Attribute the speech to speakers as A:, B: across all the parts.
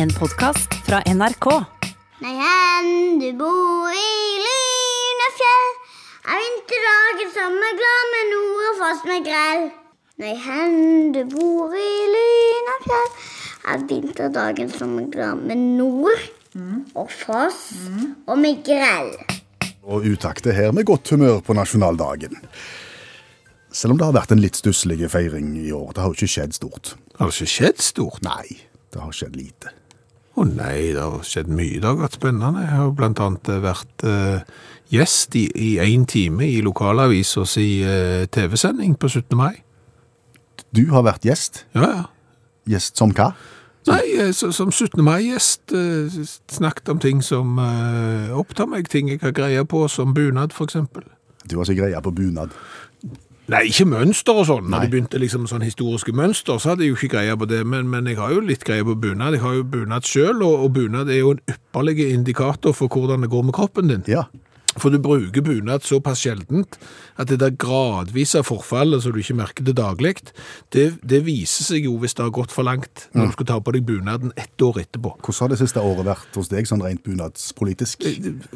A: En podkast fra NRK.
B: Nei, hen du bor i Lynefjell, er vinterdagen sommerglad med nord og fast med grell. Nei, hen du bor i Lynefjell, er vinterdagen sommerglad med nord og foss og med grell.
C: og utakte her med godt humør på nasjonaldagen. Selv om det har vært en litt stusslig feiring i år. Det har jo ikke skjedd stort.
D: Har det ikke skjedd stort?
C: Nei, det har skjedd lite.
D: Å nei, det har skjedd mye. Det har vært spennende. Jeg har jo blant annet vært eh, gjest i, i en time i lokalavisa si eh, TV-sending på 17. mai.
C: Du har vært gjest.
D: Ja, ja.
C: Gjest som hva?
D: Nei, eh, så, som 17. mai-gjest eh, s- snakket om ting som eh, opptar meg, ting jeg har greie på, som bunad for eksempel.
C: Du har ikke greie på bunad.
D: Nei, ikke mønster og sånn.
C: Nei.
D: Når det begynte liksom sånn historiske mønster, så hadde jeg jo ikke greie på det, men, men jeg har jo litt greie på bunad. Jeg har jo bunad selv, og, og bunad er jo en ypperlig indikator for hvordan det går med kroppen din.
C: Ja.
D: For du bruker bunad såpass sjeldent at det der gradvise forfallet som altså du ikke merker det daglig, det, det viser seg jo hvis det har gått for langt når du skal ta på deg bunaden ett år etterpå.
C: Hvordan har det siste året vært hos deg, sånn rent bunadspolitisk?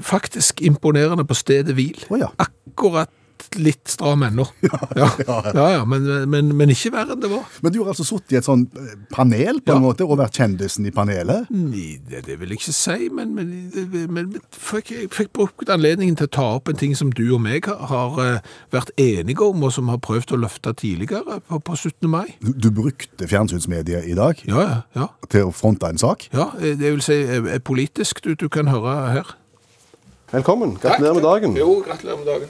D: Faktisk imponerende på stedet hvil.
C: Å ja.
D: Akkurat litt stram ennå. Ja, ja, ja, men, men, men ikke verre enn det var.
C: Men du har altså sittet i et sånn eh, panel på en
D: Ja.
C: måte, og vært kjendisen i panelet.
D: Nei, det, det vil jeg ikke si, men, men, men, men fikk, jeg fikk brukt anledningen til å ta opp en ting som du og meg har, har eh, vært enige om, og som har prøvd å løfte tidligere på, på 17. mai.
C: Du, du brukte fjernsynsmediet i dag
D: Ja, ja, ja.
C: til å fronte en sak.
D: ja eh, det vil si eh, eh, politisk, du, du kan høre her.
E: Velkommen. Gratulerer med dagen.
D: Jo, gratulerer med dagen.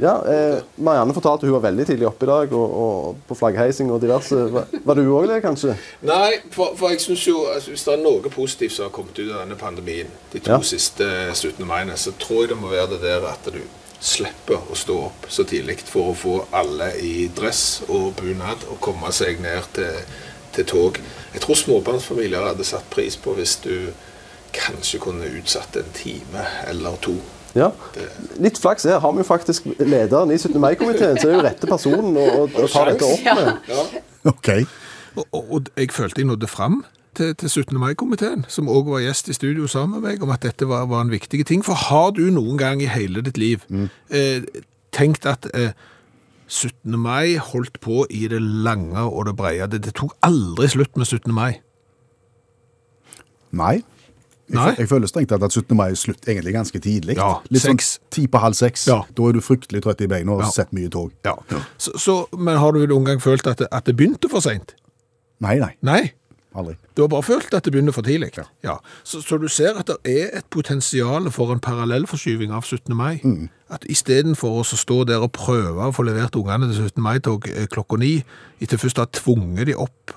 E: Ja, eh, Marianne fortalte hun var veldig tidlig oppe i dag, og, og på flaggheising og diverse. Var, var du òg det, kanskje?
D: Nei, for, for jeg synes jo altså, Hvis det er noe positivt som har kommet ut av denne pandemien de to
E: Ja.
D: siste eh, 17. maiene, så tror jeg det må være det der at du slipper å stå opp så tidlig for å få alle i dress og bunad og komme seg ned til, til tog. Jeg tror småbarnsfamilier hadde satt pris på hvis du kanskje kunne utsatt en time eller to.
E: Ja. Litt flaks her har vi jo faktisk lederen i 17. mai-komiteen, så det er jo rette personen å, å, å ta dette opp med.
D: Ja.
C: Ok.
D: Og, og, og jeg følte jeg nådde fram til, til 17. mai-komiteen, som òg var gjest i studio sammen med meg, om at dette var, var en viktig ting. For har du noen gang i hele ditt liv eh, tenkt at eh, 17. mai holdt på i det lange og det brede? Det, det tok aldri slutt med 17. mai.
C: Nei. Jeg,
D: Nei.
C: fø- jeg føler strengt tatt at 17. mai er slutt egentlig ganske tidlig.
D: Ja,
C: Litt
D: seks.
C: sånn ti på halv seks.
D: Ja.
C: Da er du fryktelig trøtt i beina og
D: Ja.
C: har sett mye tog.
D: Ja. Så, så, men har du noen gang følt at det, at det begynte for seint?
C: Nei, nei.
D: Nei.
C: Aldri.
D: Du har bare følt at det begynner for tidlig. Ja. Så, så du ser at det er et potensial for en parallellforskyving av 17. mai.
C: Mm.
D: At istedenfor å så stå der og prøve å få levert ungene til 17. mai-tog eh, klokka ni, etter først å ha tvunget de opp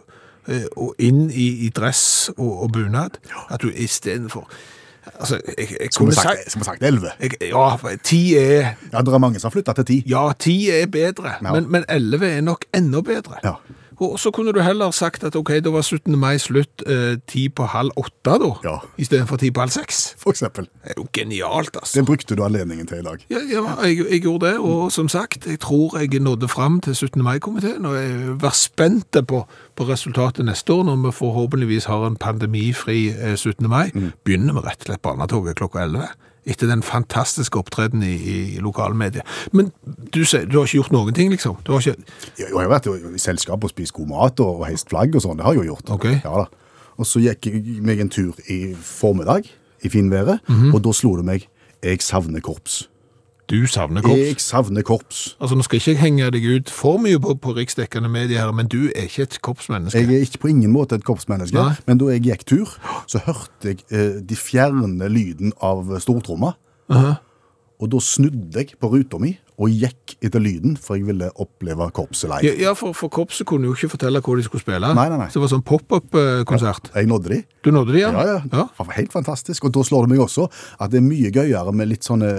D: eh, og inn i, i dress og, og bunad, at du istedenfor Altså, jeg, jeg
C: Skulle
D: kunne
C: vi sagt,
D: sagt
C: skulle vi sagt 11?
D: jeg, Ja, ti er
C: Ja, det er mange som har flytta til 10.
D: ja, ti er bedre, men, men 11 er nok enda bedre.
C: Ja.
D: Og så kunne du heller sagt at ok, da var 17. mai slutt eh, ti på halv åtte da,
C: Ja.
D: i stedet for ti på halv seks.
C: For eksempel.
D: Det er jo genialt, altså.
C: Det brukte du anledningen til i dag.
D: Ja, ja jeg, jeg gjorde det, og som sagt, jeg tror jeg nådde frem til 17. mai-komiteen, og jeg var spente på, på resultatet neste år, når vi forhåpentligvis har en pandemifri eh, 17. mai.
C: Mm.
D: Begynner vi rett og slett barnetoget klokka 11, etter den fantastiske opptreden i, i, i lokalmediet. Men du sier, du har ikke gjort noen ting, liksom? Du har ikke...
C: Jo, Jeg har vært jo i selskap og spist god mat og og heist flagg og sånn. Det har jeg jo gjort.
D: Ok.
C: Ja da. Og så gikk jeg meg en tur i formiddag, i finværet,
D: Mhm.
C: og da slo det meg jeg savner korps.
D: Du savner
C: Jeg savner korps.
D: Eh, Altså, nå skal ikke jeg henge deg ut for mye på, på riksdekkende medier her, men du er ikke et korpsmenneske.
C: Jeg er ikke på ingen måte et korpsmenneske,
D: Nei.
C: men da jeg gikk tur, så hørte jeg eh, de fjerne lyden av stortromma. Og da snudde jeg på ruta mi og gikk etter lyden, for jeg ville oppleve korpset live.
D: Ja, ja, for, for korpset kunne jo ikke fortelle hvor de skulle spille.
C: Nei, nei, nei.
D: Så det var sånn pop-up-konsert.
C: Jeg nådde de.
D: Du nådde de, ja?
C: Ja, ja. Det var Helt fantastisk. Og da slår det meg også at det er mye gøyere med litt sånne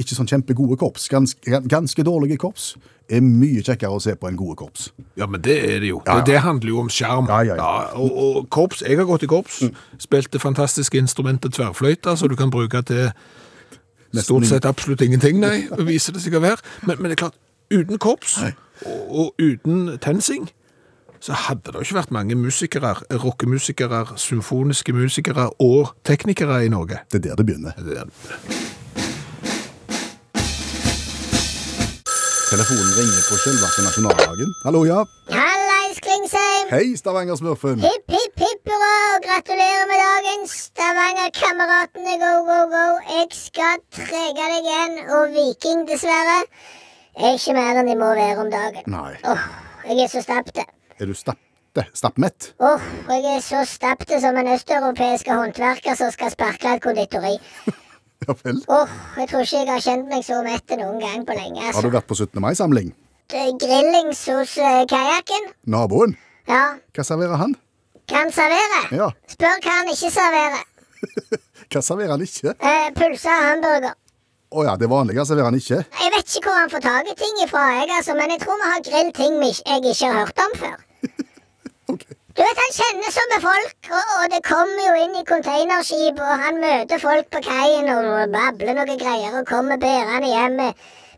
C: ikke sånn kjempegode korps. Ganske, ganske dårlige korps er mye kjekkere å se på enn gode korps.
D: Ja, men det er det jo.
C: Ja, ja.
D: Det, det handler jo om skjerm.
C: Ja, Mm. ja, ja.
D: og, og korps, jeg har gått i korps, spilt det fantastiske instrumentet tverrfløyta, så du kan bruke til stort sett absolutt ingenting, nei, viser det seg å være. Men, men det er klart, uten korps og, og uten tensing, så hadde det jo ikke vært mange musikere, rockemusikere, symfoniske musikere og teknikere i Norge.
C: Det er der det begynner.
D: Det er-
C: Telefonen ringer på selveste nasjonaldagen. Hallo, ja.
B: Hallais, Klingsheim!
C: Hei, Stavanger-smurfen.
B: Hipp, hipp, hipp hurra, og gratulerer med dagen, Stavanger-kameratene, go, go, go. Jeg skal trege deg igjen, og Viking, dessverre, er ikke mer enn de må være om dagen.
C: Nei.
B: Åh, jeg er så stappte.
C: Er du stappte? Stappmett?
B: Åh, og jeg er så stappte som en østeuropeiske håndverker som skal sparkle et konditori.
C: Ja vel.
B: Åh, jeg tror ikke jeg har kjent meg så mett noen gang på lenge.
C: Har du
B: Altså.
C: vært på 17. mai-samling?
B: Grillings hos eh, kajakken?
C: Naboen?
B: Ja.
C: Hva serverer han?
B: Kan servere?
C: Ja.
B: Spør hva han ikke serverer.
C: Hva serverer han ikke?
B: Eh, Pølse og hamburger.
C: Å ja, det vanlige serverer han ikke.
B: Jeg vet ikke hvor han får tak i ting ifra, jeg, altså, men jeg tror vi har grillting vi ikke- jeg ikke har hørt om før.
C: Ok.
B: Du vet, Han kjenner så med folk, og, og det kommer jo inn i containerskip, og han møter folk på kaien og babler noe greier og kommer bærende hjem med,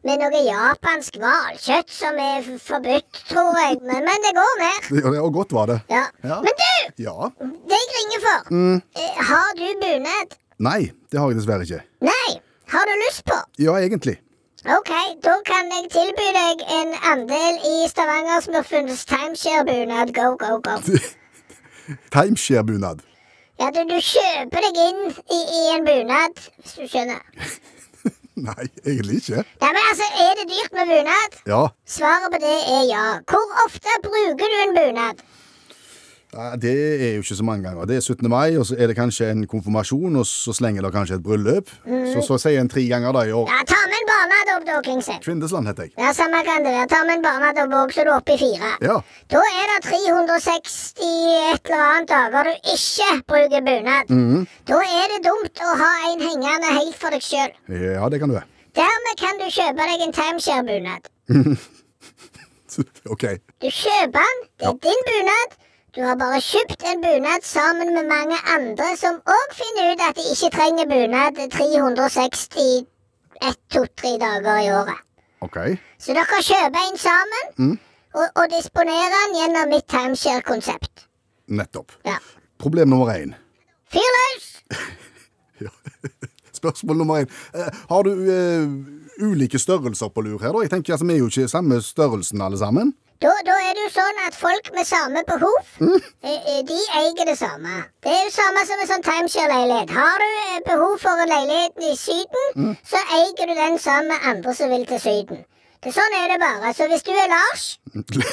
B: med noe japansk hvalkjøtt som er f- forbudt, tror jeg. Men, men det går ned.
C: Det gjør det, og godt var det.
B: Ja.
C: Ja.
B: Men du,
C: Ja.
B: det jeg ringer for, eh, har du bunad?
C: Nei, det har jeg dessverre ikke.
B: Nei. Har du lyst på?
C: Ja, egentlig.
B: Ok, da kan jeg tilby deg en andel i Stavangersmurfens timeshare-bunad. Go, go, go.
C: Timeshare-bunad.
B: Ja, du, du kjøper deg inn i, i en bunad, hvis du skjønner.
C: Nei, egentlig ikke.
B: Ja, men altså, Er det dyrt med bunad?
C: Ja,
B: Svaret på det er ja. Hvor ofte bruker du en bunad?
C: Nei, det er jo ikke så mange ganger. Det er 17. mai, og så er det kanskje en konfirmasjon, og så slenger det kanskje et bryllup. Så, så sier en tre ganger da i år.
B: Ja, Ta med en barnad opp, da, Klingsheim.
C: Kvindesland heter jeg.
B: Ja, Samme kan det være. Ta med en barnad opp òg, så du er oppe i fire.
C: Ja.
B: Da er det 360 et eller annet dager du ikke bruker bunad. Da er det dumt å ha en hengende helt for deg sjøl.
C: ja, det kan du være.
B: Dermed kan du kjøpe deg en timeshare-bunad.
C: OK.
B: Du kjøper den, det er din bunad. Du har bare kjøpt en bunad sammen med mange andre som òg finner ut at de ikke trenger bunad 360 1, 2, 3 dager i året.
C: ok.
B: Så dere kjøper en sammen og, og disponerer den gjennom mitt timeshare-konsept.
C: Nettopp.
B: Ja.
C: Problem nummer én.
B: Fyr løs!
C: Spørsmål nummer én. Eh, har du eh, ulike størrelser på lur her, da? Jeg tenker altså, Vi er jo ikke samme størrelsen alle sammen.
B: Da, da er det jo sånn at folk med samme behov, eh, eh, de eier det samme. Det er jo samme som en sånn timeshare-leilighet. Har du eh, behov for en leilighet i Syden, så eier du den sammen med andre som vil til Syden. Det, sånn er det bare. Så hvis du er Lars,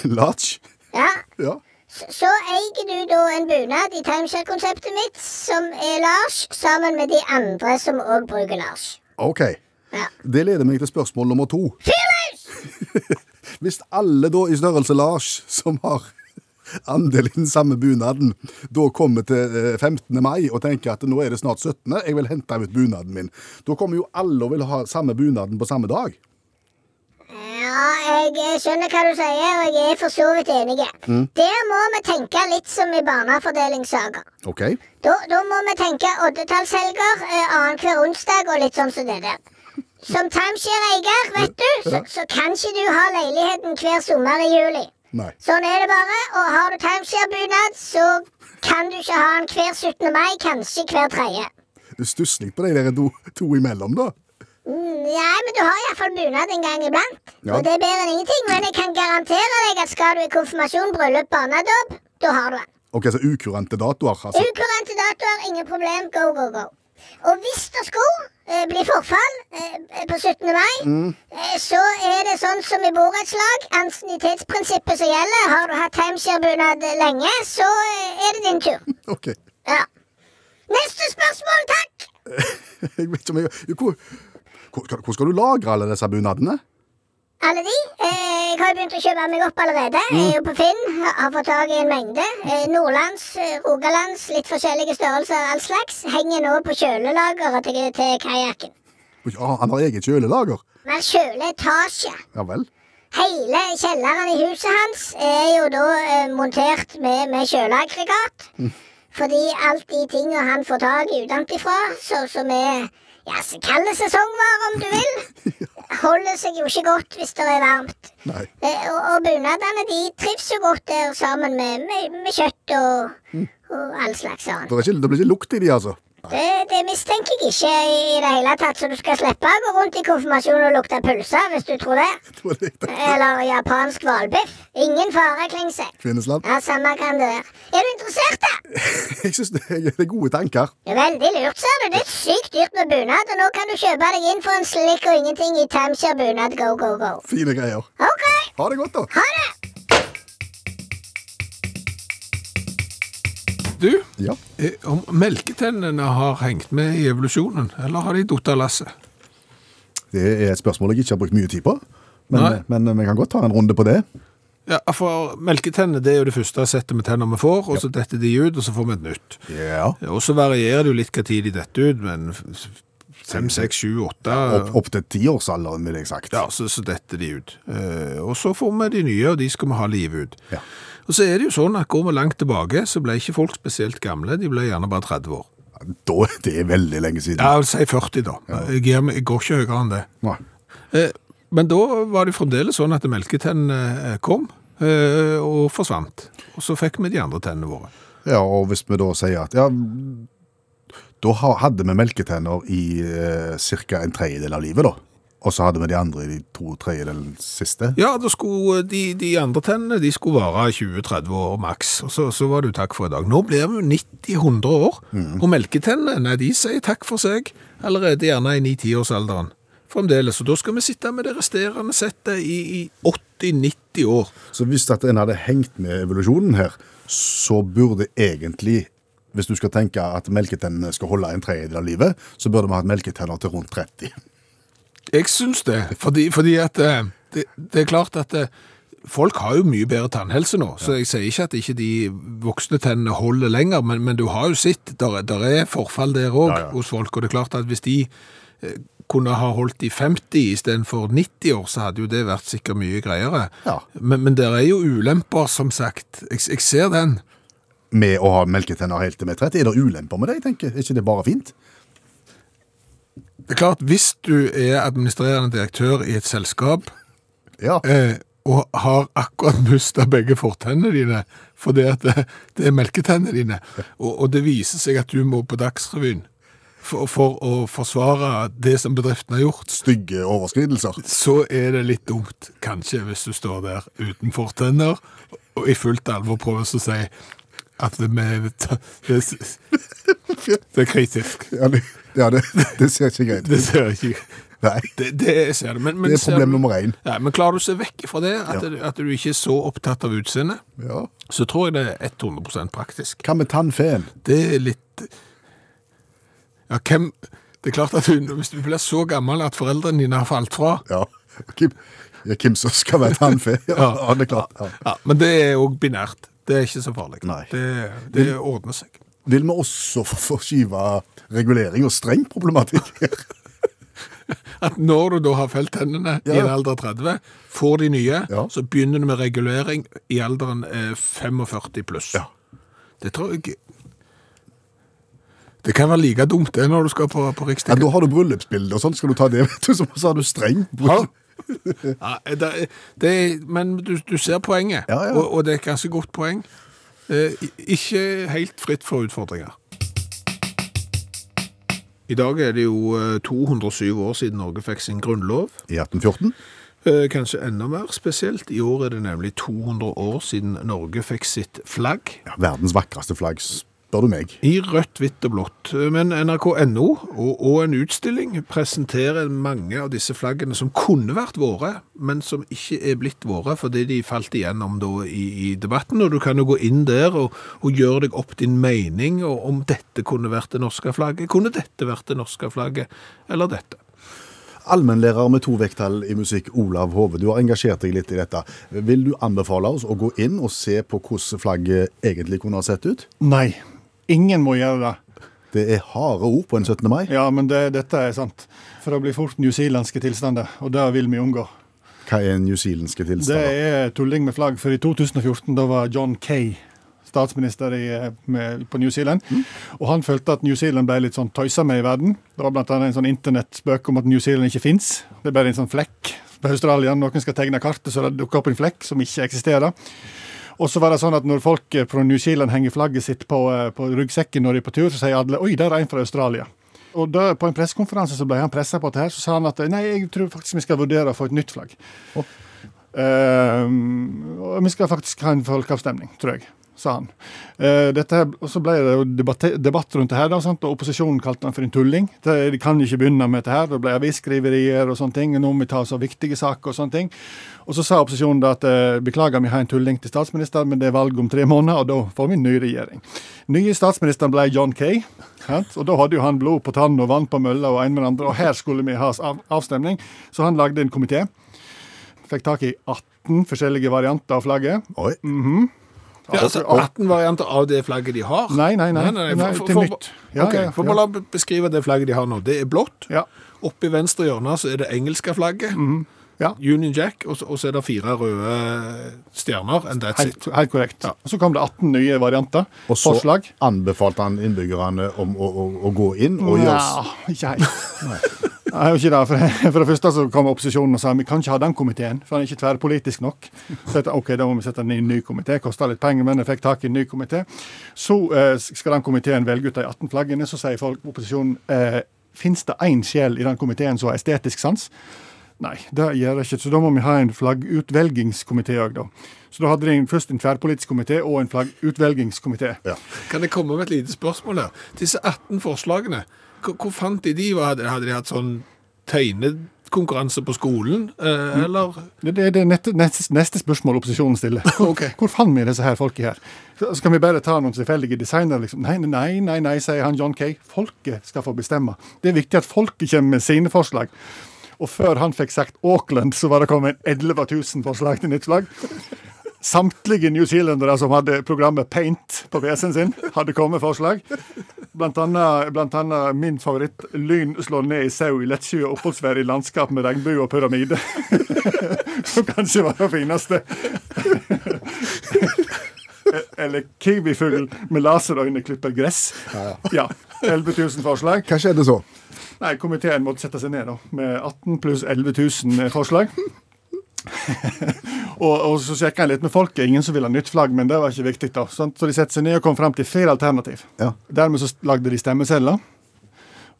C: Large.
B: ja,
C: Ja.
B: så, så eier du da en bunad i timeshare-konseptet mitt som er Lars, sammen med de andre som òg bruker Lars.
C: OK.
B: Ja.
C: Det leder meg til spørsmål nummer to.
B: Fyrløs!
C: Hvis alle da i størrelse Lars, som har andel i den samme bunaden, da kommer til eh, 15. mai og tenker at nå er det snart 17., jeg vil hente ut bunaden min. Da kommer jo alle og vil ha samme bunaden på samme dag.
B: Ja, jeg eh, skjønner hva du sier, og jeg er for så vidt enig. Der må vi tenke litt som i barnefordelingssaker.
C: OK.
B: Da, da må vi tenke oddetallshelger eh, annenhver onsdag og litt sånn som det der. Som timeshare-eier, vet du, så, så kan ikke du ha leiligheten hver sommer i juli.
C: Nei.
B: Sånn er det bare. Og har du timeshare-bunad, så kan du ikke ha den hver 17. mai, kanskje hver tredje.
C: Stusslig på de der to, to imellom, da.
B: Mm, Nei, men du har iallfall bunad en gang iblant.
C: Ja.
B: Og det er bedre enn ingenting. Men jeg kan garantere deg at skal du i konfirmasjon, bryllup, barnedåp, da har du den.
C: OK, så ukurante datoer, altså.
B: Ukurante datoer, ingen problem. Go, go, go. Og hvis det skulle eh, bli forfall eh, på 17. mai, eh, så er det sånn som i borettslag. Ansiennitetsprinsippet som gjelder. Har du hatt timeshare-bunad lenge, så eh, er det din tur.
C: OK.
B: Ja. Neste spørsmål, takk!
C: Jeg vet ikke om jeg jo, hvor, hvor, hvor skal du lagre alle disse bunadene?
B: Alle de. Eh, jeg har jo begynt å kjøpe meg opp allerede. Jeg er jo på Finn. Har har fått tak i en mengde. Eh, Nordlands, eh, Rogalands, litt forskjellige størrelser, all slags. Henger nå på kjølelageret til, til kajakken.
C: Ja, ah, han har eget kjølelager.
B: Men kjøleetasje.
C: Ja vel.
B: Hele kjelleren i huset hans er jo da eh, montert med, med kjøleaggregat.
F: Fordi alt de tinga han får tak i utenfra, så, som er ja, så kall det sesongvarer om du vil, holder seg jo ikke godt hvis det er varmt.
C: Nei.
F: Eh, Og, og bunadene de trives jo godt der sammen med, med, med kjøtt og, og all slags annet.
C: Det, er ikke, det blir ikke lukt i de, altså.
F: Det, det mistenker jeg ikke i i det hele tatt, så du skal slippe å gå rundt i konfirmasjon og lukte pølse hvis du tror det.
C: Det var det jeg tenkte.
F: Eller japansk hvalbiff. Ingen fare, Klingse.
C: Kvinnesland.
F: Ja, samme kan det være. Er du interessert, da?
C: Jeg synes det er det er gode tanker.
F: Ja, Veldig lurt, ser du. Det er sykt dyrt med bunad, og nå kan du kjøpe deg inn for en slikk og ingenting i Timeshare bunad go, go, go.
C: Fine greier.
F: OK,
C: Ha det godt, da.
F: ha det!
D: Du,
C: Ja.
D: eh, om melketennene har hengt med i evolusjonen, eller har de datt av lasset?
C: Det er et spørsmål jeg ikke har brukt mye tid på.
D: Nei.
C: Men, men vi kan godt ta en runde på det.
D: Ja, for melketennene det er jo det første settet med tenner vi får, og så detter de ut, og så får vi et nytt.
C: Ja.
D: Ja, Og så varierer det jo litt hva tid de detter ut, men f- fem, seks, sju,
C: Opp,
D: åtte
C: Mm. opp til tiårsalderen, vil jeg sagt.
D: Ja, så, så detter de ut. Eh, og så får vi de nye, og de skal vi ha livet ut.
C: Ja.
D: Og så er det jo sånn at går vi langt tilbake, så ble ikke folk spesielt gamle, de ble gjerne bare 30 år.
C: Da, det er veldig lenge siden.
D: Ja, si 40 da. Jeg, gir meg- jeg går ikke høyere enn det.
C: Nei.
D: Eh, Men da var det fremdeles sånn at melketennene eh, kom eh, og forsvant. Og så fikk vi de andre tennene våre.
C: Ja, og hvis vi da sier at ja, da ha- hadde vi melketenner i eh, ca. en tredjedel av livet, da. Og så hadde vi de andre i de to tredjedelen siste.
D: Ja, da skulle eh, de, de andre tennene de skulle vare 20-30 år maks. Og så, så var det jo takk for i dag. Nå blir vi jo 90-100 år, og melketennene nei, de sier takk for seg allerede gjerne i 9-10-årsalderen. Fremdeles. Og da skal vi sitte med det resterende settet i, i 80-90 år.
C: Så hvis at en hadde hengt med evolusjonen her, så burde egentlig hvis du skal tenke at melketennene skal holde en tredjedel av livet, så burde vi hatt melketenner til rundt 30.
D: Jeg syns det, fordi, fordi at eh, det, det er klart at eh, folk har jo mye bedre tannhelse nå, så jeg sier ikke at ikke de voksne tennene holder lenger, men, men du har jo sett, der, er- der er forfall der òg
C: Ja, ja.
D: hos folk, og det er klart at hvis de eh, kunne ha holdt i 50 istedenfor 90 år, så hadde jo det vært sikkert mye greiere.
C: Ja.
D: Men, men det er jo ulemper, som sagt. Jeg, jeg ser den.
C: Med å ha melketenner helt til vi er 30, er det ulemper med det? jeg tenker? Er ikke det bare fint?
D: Det er klart, hvis du er administrerende direktør i et selskap
C: Ja.
D: eh, og har akkurat mista begge fortennene dine fordi at det, det er melketennene dine. Og, og det viser seg at du må på Dagsrevyen for, for å forsvare det som bedriften har gjort.
C: Stygge overskridelser.
D: Så er det litt dumt, kanskje, hvis du står der uten fortenner og i fullt alvor prøver å si at det, med, det, det er kritisk.
C: Ja, det, ja, det, det ser ikke greit ut.
D: Det ser jeg ikke
C: Nei.
D: Det, det ser du. Men, men
C: Det er
D: ser
C: problem
D: du-
C: nummer én.
D: Ja, men klarer du å se vekk fra det, at, du, at du ikke er så opptatt av utseendet,
C: Ja.
D: så tror jeg det er 100 praktisk.
C: Hva med tannfeen?
D: Det er litt Ja, hvem Det er klart at du, hvis du blir så gammel at foreldrene dine har falt fra
C: Ja. Kim, ja, Kim som skal være tannfe. Ja, ja, det er klart. Ja.
D: ja, Men det er òg binært. Det er ikke så farlig.
C: Nei.
D: Det, det ordner seg.
C: Vil vi også få forskyve regulering og streng problematikk her?
D: At når du da har felt tennene i
C: Ja.
D: en alder av 30, får de nye,
C: Ja.
D: så begynner du med regulering i alderen eh, 45 pluss.
C: Ja.
D: Det tror jeg Det kan være like dumt det når du skal på, på
C: Ja,
D: Rikstikken.
C: da har du bryllupsbilde og sånn, skal du ta det, vet du, så så har du streng.
D: Har du? Ja, eh, det, det, men du, du ser poenget,
C: Ja, ja.
D: Og, og det er et ganske godt poeng. Eh, i- ikke helt fritt for utfordringer. I dag er det jo eh, 207 år siden Norge fikk sin grunnlov.
C: I 1814?
D: Eh, Kanskje enda mer spesielt. I år er det nemlig 200 år siden Norge fikk sitt flagg.
C: Ja, verdens vakreste flagg, spør du meg.
D: I rødt, hvitt og blått. Eh, Men nrk.no og, og en utstilling presenterer mange av disse flaggene som kunne vært våre, men som ikke er blitt våre fordi de falt igjennom da i, i debatten. Og du kan jo gå inn der og, og gjøre deg opp din mening og om dette kunne vært det norske flagget. Kunne dette vært det norske flagget, eller dette?
C: Allmennlærer med to vekttall i musikk, Olav Hove, du har engasjert deg litt i dette. Vil du anbefale oss å gå inn og se på hvordan flagget egentlig kunne ha sett ut?
G: Nei, ingen må gjøre det.
C: Det er harde ord på en 17. mai.
G: Ja, men det, dette er sant. For det blir fort newzealandske tilstander, og det vil vi unngå.
C: Hva er newzealandske
G: Det
C: tilstander?
G: er tulling med flagg, for i 2014 da var John Kay statsminister i, eh, med, på New Zealand. Og han følte at New Zealand ble litt sånn tøysa med i verden. Det var blant annet en sånn internettspøk om at New Zealand ikke fins. Det er bare en sånn flekk på Australia. Noen skal tegne kartet, så det dukker opp en flekk som ikke eksisterer. Og så var det sånn at når folk eh, fra New Zealand henger flagget sitt på, eh, på ryggsekken når de er på tur, så sier alle 'oi, der er en fra Australia'. Og da, På en pressekonferanse så ble han pressa på dette, her, så sa han at nei, jeg tror faktisk vi skal vurdere å få et nytt flagg. Ehm, og vi skal faktisk ha en folkeavstemning, tror jeg, sa han. Eh, dette, her- og så ble det jo debatt, debatt rundt det her, da, sant? og opposisjonen kalte han for en tulling. Det, de kan jo ikke begynne med dette her. Det ble avisskriverier og sånne ting. Nå må vi ta oss av viktige saker og sånne ting. Og så sa opposisjonen da at eh, beklager, vi har en tulling til statsminister, men det er valg om tre måneder, og da får vi en ny regjering. Nye statsministeren ble John Kay. Sant? Og da hadde jo han blod på tann og vann på mølla og en med den andre, og her skulle vi ha av, avstemning. Så han lagde en komité fikk tak i 18 forskjellige varianter av flagget.
C: Oi.
D: Ja, altså, 18 varianter av det flagget de har.
G: Nei, nei, nei. Nei,
D: for,
G: til
D: for,
G: nytt.
D: Ja,
G: Ja,
D: ok,
G: ja, ja.
D: for bare la meg beskrive det flagget de har nå. Det er blått.
G: Ja. Mhm.
D: Oppe i venstre hjørne så er det engelske flagget.
G: Ja.
D: Union Jack, og så, og så er det fire røde stjerner, and that's it.
G: Helt, helt korrekt. Og Så kom det 18 nye varianter.
C: Og så
G: forslag.
C: anbefalte han innbyggerne om å, å, å gå inn og gjøre s-
G: Nja, ikke helt. Nei, jo ikke det. For, for det første så kom opposisjonen og sa vi kan ikke ha den komiteen, for den er ikke tverrpolitisk nok. Så jeg tenkte, ok, da må vi sette ned en ny komité. Kosta litt penger, men jeg fikk tak i en ny komité. Så eh, skal den komiteen velge ut de 18 flaggene. Så sier folk opposisjonen eh, fins det én sjel i den komiteen som har estetisk sans? Nei, det gjør det ikke. Så da må vi ha en flaggutvelgingskomité òg, da. Så da hadde de en- først en tverrpolitisk komité og en flaggutvelgingskomité.
D: Kan jeg komme med et lite spørsmål her? Disse 18 forslagene, hvor, hvor fant de de? Hva Hadde, hadde de hatt sånn tegnekonkurranse på skolen,
G: Mm.
D: eh, eller?
G: Det det er det nette- neste, neste spørsmål opposisjonen stiller. Hvor,
D: Ok.
G: hvor fant vi disse her folket her? Så Skal vi bare ta noen tilfeldige designere? Liksom? Nei, nei, nei, nei, sier han John Kay. Folket skal få bestemme. Det er viktig at folket kommer med sine forslag. Og før han fikk sagt Auckland, så var det kommet 11 000 forslag til nytt flagg. Samtlige New Zealandere som hadde programmet Paint på PC-en sin, hadde kommet forslag. Blant annet, blant annet min favoritt Lyn slår ned i sau i lettsky og oppholdsvær i landskap med regnbue og pyramide. Som kanskje var det fineste. Eller kiwifugl med laserøyne klipper gress. Ja, 11 000 forslag.
C: Hva skjedde så?
G: Nei, komiteen måtte sette seg ned da, med 18 pluss 11 000 forslag. og, og så sjekka jeg litt med folket. Ingen som ville ha nytt flagg, men det var ikke viktig. da. Sant? Så de satte seg ned og kom fram til fire alternativ.
C: Ja.
G: Dermed så lagde de stemmesedler.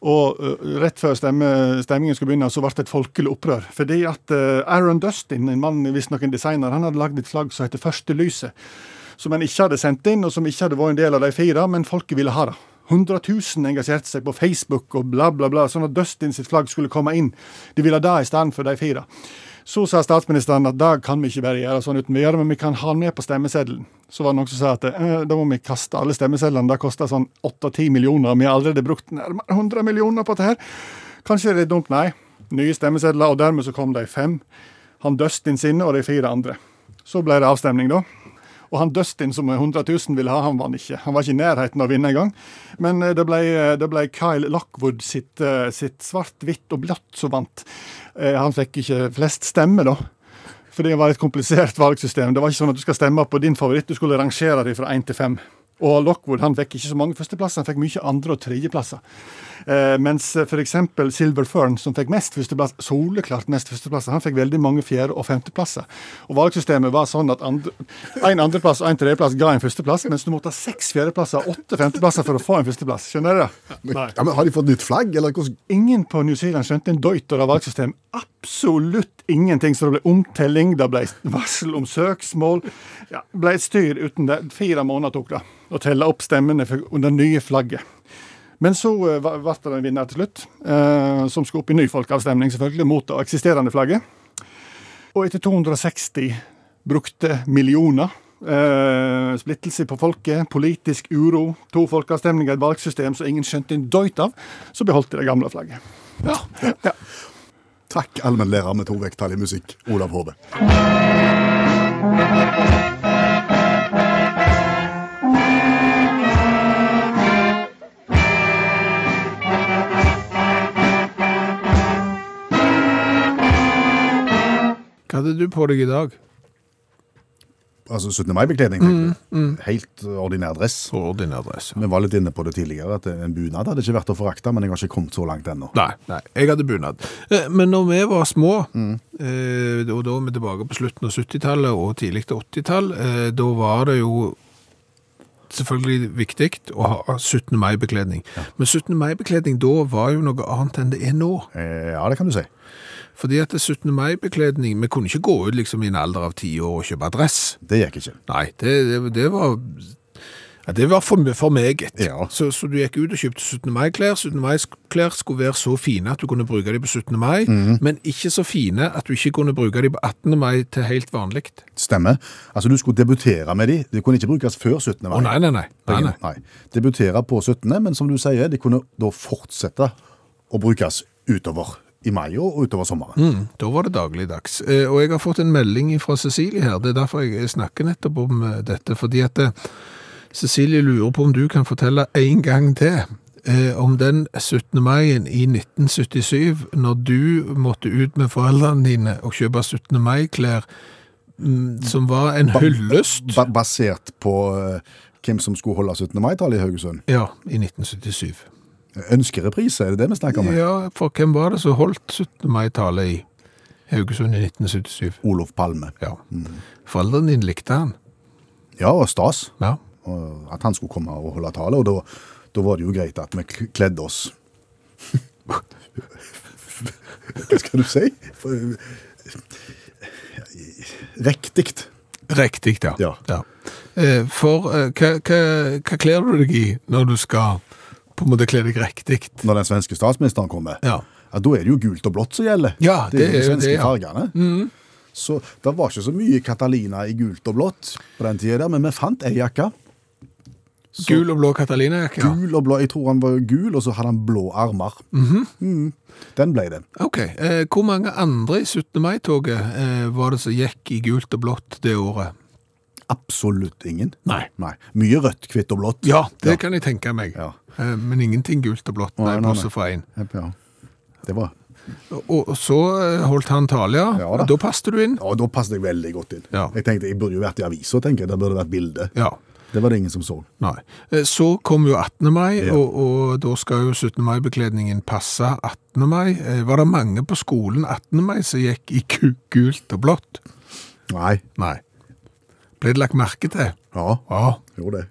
G: Og ø, rett før stemme, stemmingen skulle begynne, så ble det et folkelig opprør. Fordi at ø, Aaron Dustin, en mann, visstnok en designer, han hadde lagd et flagg som heter Første lyset. Som han ikke hadde sendt inn, og som ikke hadde vært en del av de fire, men folket ville ha det. 100 000 engasjerte seg på Facebook og bla, bla, bla, sånn at Dustin sitt flagg skulle komme inn. De ville ha det i stedet for de fire. Så sa statsministeren at det kan vi ikke bare gjøre sånn uten videre, men vi kan ha den med på stemmeseddelen. Så var det noen som sa at eh, da må vi kaste alle stemmesedlene, det koster sånn 8-10 millioner, vi har allerede brukt nærmere 100 millioner på dette her. Kanskje det er dumt, nei. Nye stemmesedler, og dermed så kom de fem. Han Dustin sine og de fire andre. Så ble det avstemning, da. Og han Dustin som 100 000 ville ha, han vant ikke. Han var ikke i nærheten av å vinne engang. Men eh, det ble, eh, det ble Kyle Lockwood sitt, eh, sitt svart, hvitt og blått som vant. Eh, Han fikk ikke flest stemmer, da. For det var et komplisert valgsystem. Det var ikke sånn at du skal stemme på din favoritt, du skulle rangere dem fra én til fem. Og Lockwood han fikk ikke så mange førsteplasser, han fikk mye andre- og tredjeplasser. Eh, mens f.eks. Silver Fern, som fikk mest førsteplass, soleklart mest førsteplasser, han fikk veldig mange fjerde- og femteplasser. Og valgsystemet var sånn at andre, en andreplass og en tredjeplass ga en førsteplass, mens du måtte ha seks fjerdeplasser og åtte femteplasser for å få en førsteplass. Skjønner du det?
C: Men, ja, men Har de fått nytt flagg, eller hvordan
G: Ingen på New Zealand skjønte en døyt av valgsystem. Absolutt ingenting. Så det ble omtelling, det ble varsel om søksmål. Ja, det ble et styr uten det. Fire måneder tok det å telle opp stemmene for- under nye flagget. Men så eh, va- ble det en vinner til slutt, eh, som skulle opp i ny folkeavstemning, selvfølgelig, mot det eksisterende flagget. Og etter 260 brukte millioner, eh, splittelse på folket, politisk uro, to folkeavstemninger, et valgsystem som ingen skjønte en døyt av, så beholdt de det gamle flagget. Ja.
C: Takk, allmennlærer med to vekttall i musikk, Olav Hove.
D: Hva hadde du på deg i dag?
C: altså 17. mai-bekledning. tenker du? Helt eh, ordinær dress.
D: På ordinær dress. Ja.
C: Vi var litt inne på det tidligere, at en bunad hadde ikke vært å forakte, men jeg har ikke kommet så langt ennå.
D: Nei, nei, jeg hadde bunad. Eh, Men når vi var små, eh, og da er vi tilbake på slutten av 70-tallet og tidlig til 80-tall, eh, da var det jo selvfølgelig viktig å ha 17. mai-bekledning. Men 17. mai-bekledning da var jo noe annet enn det er nå.
C: Eh, ja, det kan du si.
D: Fordi at det 17. mai-bekledning, vi kunne ikke gå ut liksom i en alder av 10 år og kjøpe dress.
C: Det gikk ikke.
D: Nei, det, det, det var... Ja, det var for, for meget.
C: Ja.
D: Så, så du gikk ut og kjøpte 17. mai-klær. 17. mai-klær skulle være så fine at du kunne bruke dem på 17. mai, men ikke så fine at du ikke kunne bruke dem på 18. mai til helt vanlig.
C: Stemmer. Altså, du skulle debutere med de. De kunne ikke brukes før 17. mai.
D: Å nei, nei, nei. nei, nei.
C: Debutere på 17., men som du sier, de kunne da fortsette å brukes utover i mai og utover sommeren.
D: Mm, da var det dagligdags. Eh, Og jeg har fått en melding fra Cecilie her, det er derfor jeg snakker nettopp om eh, dette, fordi at eh, Cecilie lurer på om du kan fortelle en gang til eh, om den 17. mai i 1977, når du måtte ut med foreldrene dine og kjøpe 17. mai-klær, mm, som var en hyllest.
C: Ba basert på eh, hvem som skulle holde 17. mai-tallet i Haugesund.
D: Ja, i 1977.
C: Ønskereprise, er det det vi snakker om? her?
D: Ja, for hvem var det som holdt 17. mai-tallet i Haugesund i 1977?
C: Olof Palme.
D: Ja. Foreldrene dine likte han.
C: Ja, og stas.
D: Ja.
C: og at han skulle komme og holde tale, og da, da var det jo greit at vi k- kledde oss. Hva skal du si? For- eh, Riktig.
D: Riktig, ja.
C: Ja.
D: Eh, For eh, hva, hva, hva kler du deg i når du skal på en måte kle deg riktig?
C: Når den svenske statsministeren kommer,
D: Ja.
C: da er det jo gult og blått som gjelder.
D: Ja,
C: det, er jo de
D: det er jo det,
C: svenske
D: ja. Mm.
C: fargene. Så det var ikke så mye Catalina i gult og blått på den tida, der, men vi fant ei jakke.
D: Gul og blå Catalina-jakke? Ja.
C: Gul og blå, Jeg tror han var gul, og så hadde han blå armer. Mhm. Den ble det.
D: Ok. Eh, Hvor mange andre i 17. mai-toget eh, var det som gikk i gult og blått det året?
C: Absolutt ingen.
D: Nei.
C: Nei. Mye rødt, hvitt og blått.
D: Ja, det kan jeg tenke meg.
C: Ja.
D: Eh, Men ingenting gult og blått, nei,
C: Nei, nei, nei.
D: bortsett fra én.
C: Jepp, Ja. Det var
D: Og, og så eh, holdt han tale, ja.
C: Ja da.
D: Da passet du inn.
C: Ja, da passet jeg veldig godt inn.
D: Ja.
C: Jeg tenkte, jeg burde jo vært i avisa, tenker jeg. Det burde vært bilde.
D: Ja.
C: Det var det ingen som så.
D: Nei. Eh, Så kom jo 18. mai,
C: Ja.
D: og, og da skal jo 17. mai-bekledningen passe 18. mai. Eh, Var det mange på skolen 18. mai som gikk i ku- gult og blått?
C: Nei.
D: Nei. Ble det lagt merke til?
C: Ja,
D: Ja.
C: jo det.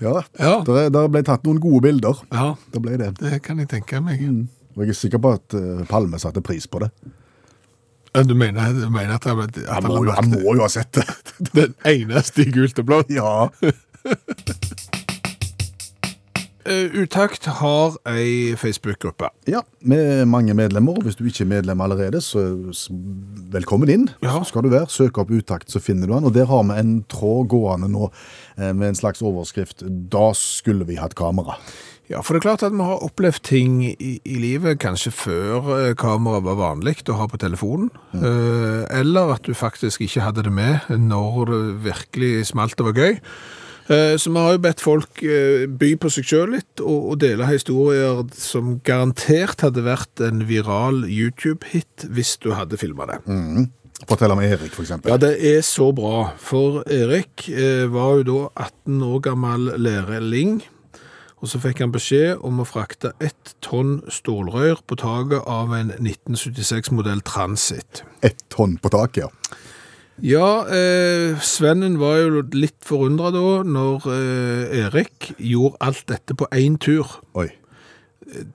C: ja,
D: Ja.
C: Der, der ble tatt noen gode bilder.
D: Ja,
C: Det ble det.
D: det kan jeg tenke meg.
C: Og jeg er sikker på at eh, Palme satte pris på det.
D: Ja, Du mener, du mener at, han- at
C: Han må, jo, han må jo ha sett det.
D: den eneste i gult og blått?
C: ja.
D: Eh, Utakt har ei Facebook-gruppe.
C: Ja, med mange medlemmer. og Hvis du ikke er medlem allerede, så s- velkommen inn.
D: Ja.
C: Så skal du være. Søk opp Utakt, så finner du den. Og der har vi en tråd gående nå eh, med en slags overskrift 'Da skulle vi hatt kamera'.
D: Ja, for det er klart at vi har opplevd ting i, i livet kanskje før eh, kamera var vanlig å ha på telefonen, eh, eller at du faktisk ikke hadde det med når det virkelig smalt og var gøy. Eh, Så vi har jo bedt folk eh, by på seg selv litt, og, og dele historier som garantert hadde vært en viral YouTube-hit hvis du hadde filmet det.
C: Fortell om Erik, for eksempel.
D: Ja, det er så bra. For Erik eh, var jo da 18 år gammel lærling. Og så fikk han beskjed om å frakte ett tonn stålrør på taket av en 1976-modell Transit.
C: Ett tonn på taket, ja.
D: Ja, eh, Svennen var jo litt forundra da, når eh, Erik gjorde alt dette på én tur.
C: Oi.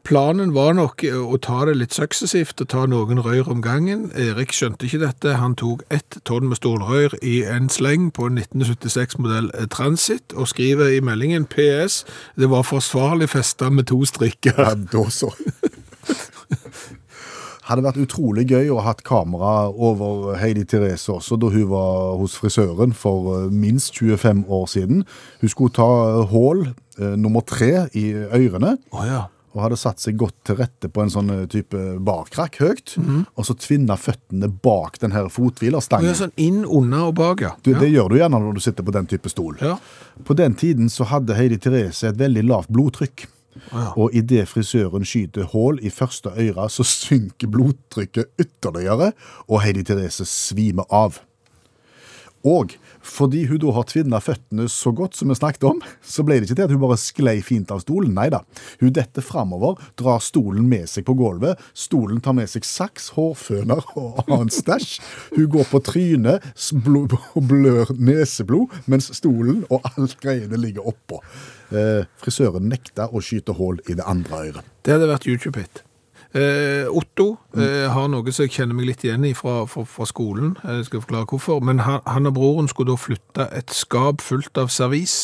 D: Planen var nok eh, å ta det litt suksessivt og ta noen røyr om gangen. Erik skjønte ikke dette. Han tok ett tonn med stålrøyr i en sleng på en 1976-modell Transit og skriver i meldingen PS det var forsvarlig festa med to
C: Ja,
D: strikker.
C: da så. Hadde vært utrolig gøy å ha hatt kamera over Heidi Therese også da hun var hos frisøren for eh, minst 25 år siden. Hun skulle ta eh, hål eh, nummer tre i ørene.
D: Å ja.
C: og hadde satt seg godt til rette på en sånn eh, type barkrakk høyt, og så tvinna føttene bak den her
D: Å
C: fothvilerstangen.
D: ja. Sånn inn, under og bak, ja.
C: Du,
D: ja.
C: Det gjør du gjerne når du sitter på den type stol.
D: Ja.
C: På den tiden så hadde Heidi Therese et veldig lavt blodtrykk. Og idet frisøren skyter hull i første øyre, så synker blodtrykket ytterligere, og Heidi Therese svimer av. Og fordi hun da har tvinna føttene så godt som vi snakket om, så ble det ikke til at hun bare sklei fint av stolen. Nei da. Hun detter framover, drar stolen med seg på gulvet. Stolen tar med seg saks, hårføner og annen stæsj. Hun går på trynet s- bl- og blør neseblod, mens stolen og alt greiene ligger oppå. Eh, frisøren nekta å skyte hull i det andre øret.
D: Det hadde vært YouTube-hit. Eh, Otto eh, har noe som jeg kjenner meg litt igjen i fra, fra, fra skolen. Eh, Jeg skal forklare hvorfor. Men han, han og broren skulle da flytte et skap fullt av servis.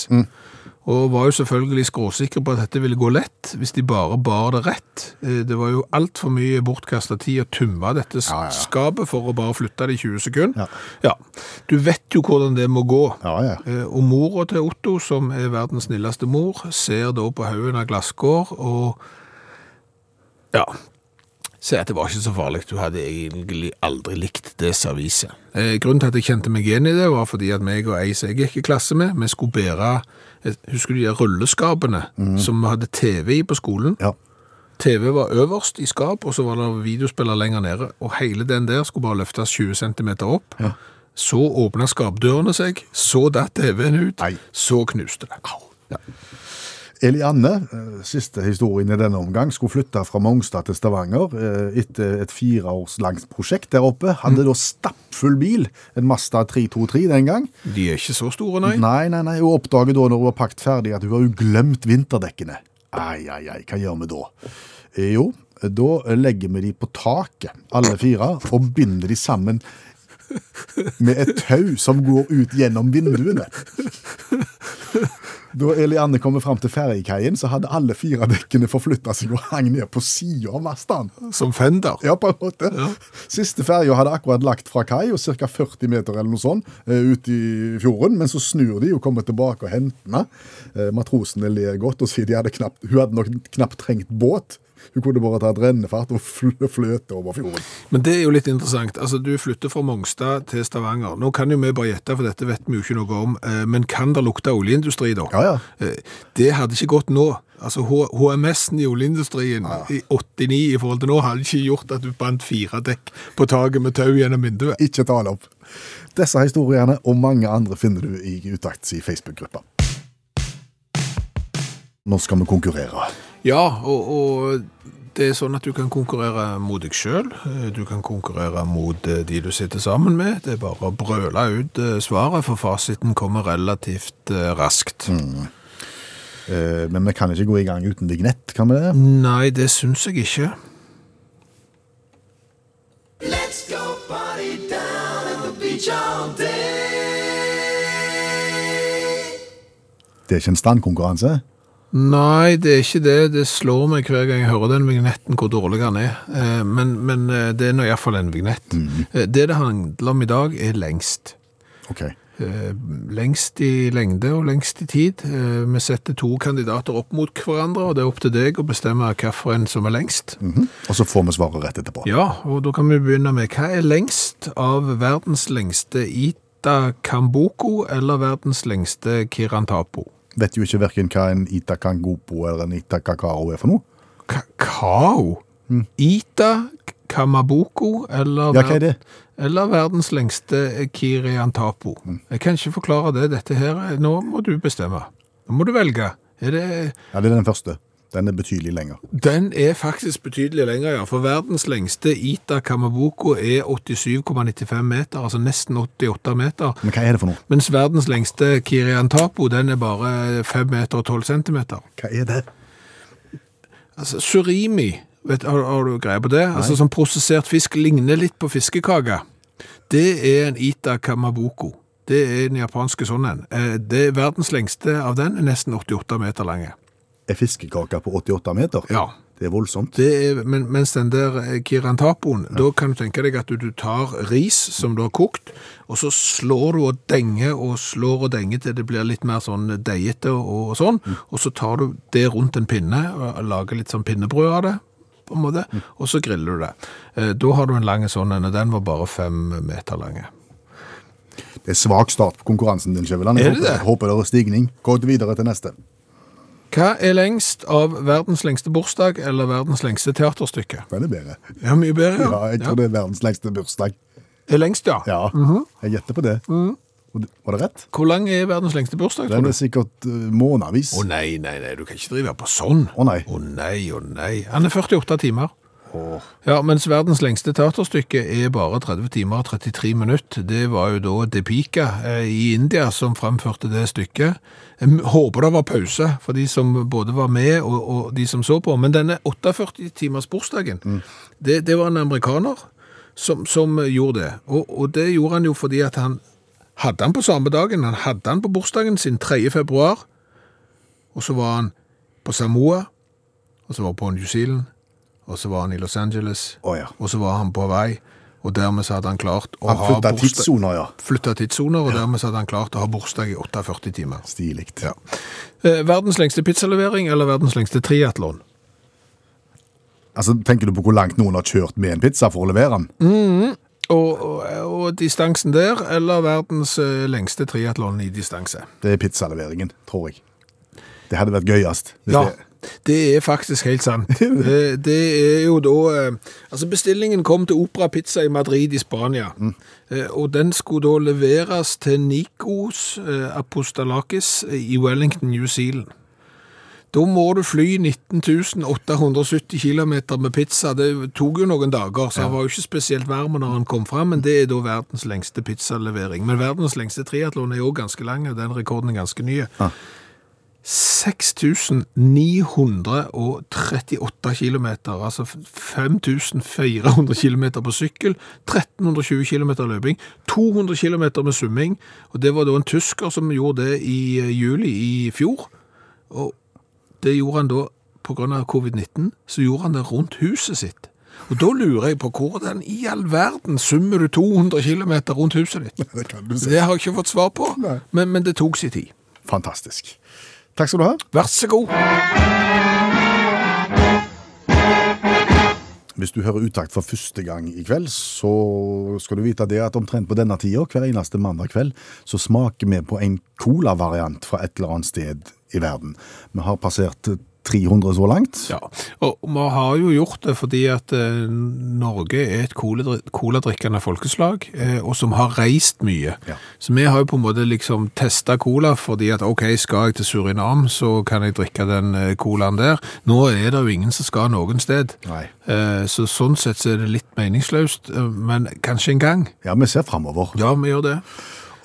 D: Og var jo selvfølgelig skråsikre på at dette ville gå lett, hvis de bare bar det rett. Eh, Det var jo altfor mye bortkasta tid å tømme dette s- skapet for å bare flytte det i 20 sekunder. Ja. Du vet jo hvordan det må gå.
C: Ja, ja.
D: Eh, Og mora til Otto, som er verdens snilleste mor, ser da på haugen av glasskår og ja. Se at det var ikke så farlig. Du hadde egentlig aldri likt det serviset. Eh, grunnen til at jeg kjente meg igjen i det, var fordi at meg og ei som jeg gikk i klasse med, vi skulle bære eh, Husker du de der rulleskapene som vi hadde TV i på skolen?
C: Mm. Ja.
D: TV var øverst i skap, og så var det videospiller lenger nede. Og hele den der skulle bare løftes 20 cm opp. Så åpna skapdørene seg, så datt TV-en ut,
C: Nei.
D: så knuste det. Ja.
C: Elianne, eh, siste historien i denne omgang, skulle flytte fra Mongstad til Stavanger eh, etter et fireårs langt prosjekt der oppe. Hadde da stappfull bil, en Mazda 323 den gang.
D: De er ikke så store, nei.
C: Nei, nei, nei, Hun oppdager da når hun har pakket ferdig at hun har jo glemt vinterdekkene. Ai, ai, ai, hva gjør vi da? Eh, Jo, da legger vi de på taket, alle fire, og binder de sammen med et tau som går ut gjennom vinduene. Da Elianne kommer fram til ferjekaien, så hadde alle fire dekkene forflytta seg og hang ned på sida av masten.
D: Som Fender.
C: Ja, på en måte. Siste ferja hadde akkurat lagt fra kai, og ca. 40 meter eller noe sånt, eh, ut i fjorden. Men så snur de og kommer tilbake og henter henne. Eh, Matrosene ler godt og sier de hadde knapt, hun hadde nok knapt trengt båt. Hun kunne bare tatt rennefart og fl- fløte over fjorden.
D: Men det er jo litt interessant. Altså, Du flytter fra Mongstad til Stavanger. Nå kan jo vi bare gjette, for dette vet vi jo ikke noe om. eh, Men kan det lukte oljeindustri, da?
C: Ja, ja.
D: Eh, Det hadde ikke gått nå. Altså, H- HMS-en i oljeindustrien i 89 i forhold til nå hadde ikke gjort at du bandt fire dekk på taket med tau gjennom vinduet.
C: Ikke tale opp. Disse historiene og mange andre finner du i Utakts i Facebook-gruppa. Nå skal vi konkurrere.
D: Ja, og, og det er sånn at du kan konkurrere mot deg sjøl. Du kan konkurrere mot eh, de du sitter sammen med. Det er bare å brøle ut eh, svaret, for fasiten kommer relativt eh, raskt.
C: Mm. Eh, Men vi kan ikke gå i gang uten vignett, kan vi det?
D: Nei, det syns jeg ikke.
C: Det er ikke en standkonkurranse.
D: Nei, det er ikke det. Det slår meg hver gang jeg hører den vignetten, hvor dårlig han er. Eh, Men, men eh, det er nå iallfall en vignett. Eh, Det det handler om i dag, er lengst.
C: Ok.
D: Eh, Lengst i lengde og lengst i tid. Eh, Vi setter to kandidater opp mot hverandre, og det er opp til deg å bestemme hvilken som er lengst.
C: Og så får vi svaret rett etterpå.
D: Ja, og da kan vi begynne med hva er lengst av verdens lengste Ita Kamboko eller verdens lengste Kirantapo?
C: Vet jo ikke hverken hva en Ita Kangopo eller en Ita Kakao er for noe.
D: Kakao? Ita Kamaboko
C: Mm.
D: eller,
C: Ja, hva er
D: ver-
C: det?
D: eller verdens lengste Kiriantapo?
C: Mm.
D: Jeg kan ikke forklare det, dette her. Nå må du bestemme. Nå må du velge. Er det...
C: Ja, det er den første. Den er betydelig lenger.
D: Den er faktisk betydelig lenger, ja. For verdens lengste Ita Kamaboko er 87,95 meter, altså nesten 88 meter.
C: Men hva er det for noe?
D: Mens verdens lengste Kiriantapo, den er bare 5 meter og 12 centimeter.
C: Hva er det?
D: Altså, surimi, vet, har, har du greie på det? Altså, som prosessert fisk ligner litt på fiskekake. Det er en Ita Kamaboko. Det er den japanske sånn en. Eh, Det er verdens lengste av den, er nesten 88 meter lange.
C: Er fiskekaker på 88 meter?
D: Ja.
C: Det er voldsomt.
D: Det er, men, mens den der eh, kirantapoen, da kan du tenke deg at du, du tar ris som du har kokt, og så slår du og denger og slår og denger til det blir litt mer sånn deigete og, og sånn,
C: Mm.
D: og så tar du det rundt en pinne og lager litt sånn pinnebrød av det, på en måte,
C: Mm.
D: og så griller du det. Eh, Da har du en lang sånn en, og den var bare fem meter lange.
C: Det er svak start på konkurransen din, Skjøveland.
D: Er
C: Jeg
D: det
C: håper,
D: det?
C: håper det er stigning. Gå videre til neste.
D: Hva er lengst av verdens lengste bursdag eller verdens lengste teaterstykke?
C: Den er bedre.
D: Ja, mye bedre.
C: Ja, jeg tror
D: Ja. Mhm.
C: det er verdens lengste bursdag.
D: Er lengst, ja.
C: Ja, jeg gjetter på det. Og det- Var det rett?
D: Hvor lang er verdens lengste bursdag, Mhm. tror
C: Den
D: du?
C: er sikkert eh, månedvis.
D: Å nei, nei, nei, du kan ikke drive på sånn.
C: Å nei.
D: Å nei, å nei. Han er 48 timer. Ja, mens verdens lengste teaterstykke er bare 30 timer og 33 minutter. Det var jo da Depika eh, i India som fremførte det stykket. Jeg m- håper det var pause for de som både var med og, og de som så på. Men denne 48 timers bursdagen,
C: Mm.
D: det, det var en amerikaner som, som gjorde det. Og, og det gjorde han jo fordi at han hadde han på samme dagen. Han hadde han på bursdagen sin 3. februar. Og så var han på Samoa, og så var han på New Zealand, og så var han i Los Angeles,
C: Å, ja.
D: og så var han på vei, og dermed så hadde han klart å
C: Han
D: ha
C: flytta
D: bursdag-
C: tidssoner, ja.
D: Flyttet tidssoner, og dermed så hadde han klart å ha bursdag i 48 timer.
C: Stilig.
D: Ja. Eh, verdens lengste pizzalevering, eller verdens lengste triatlon?
C: Altså, tenker du på hvor langt noen har kjørt med en pizza for å levere den?
D: Og, og, og distansen der, eller verdens eh, lengste triatlon i distanse?
C: Det er pizzaleveringen, tror jeg. Det hadde vært gøyest. hvis
D: Ja,
C: det-
D: det er faktisk helt sant. Eh, Det er jo da eh, Altså, bestillingen kom til Opera Pizza i Madrid i Spania. Eh, Og den skulle da leveres til Nikos eh, Apostolakis i Wellington, New Zealand. Da må du fly 19.870 km med pizza. Det tok jo noen dager, så han var jo ikke spesielt varm når han kom fram, men det er da verdens lengste pizzalevering. Men verdens lengste triatlon er jo ganske lang, og den rekorden er ganske ny. 6938 kilometer, altså 5400 kilometer på sykkel, 1320 kilometer løping, 200 kilometer med summing, og det var da en tysker som gjorde det i eh, juli i fjor, og det gjorde han da på grunn av covid-19, så gjorde han det rundt huset sitt. Og da lurer jeg på hvordan i all verden summer du 200 kilometer rundt huset ditt?
C: Det kan du si.
D: Det har jeg ikke fått svar på,
C: Nei.
D: men, men det tok sin tid.
C: Fantastisk. Takk skal du ha.
D: Vær så god!
C: Hvis du hører utakt for første gang i kveld, så skal du vite det at omtrent på denne tida, hver eneste mandag kveld, så smaker vi på en colavariant fra et eller annet sted i verden. Vi har passert 300 så langt.
D: Ja, og vi har jo gjort det fordi at eh, Norge er et coladri- coladrikkende folkeslag, eh, og som har reist mye.
C: Ja.
D: Så vi har jo på en måte liksom testet cola, fordi at ok, skal jeg til Surinam, så kan jeg drikke den eh, colaen der. Nå er det jo ingen som skal noen sted.
C: Nei.
D: Eh, så sånn sett så er det litt meningsløst, eh, men kanskje en gang.
C: Ja, vi ser framover.
D: Ja, vi gjør det.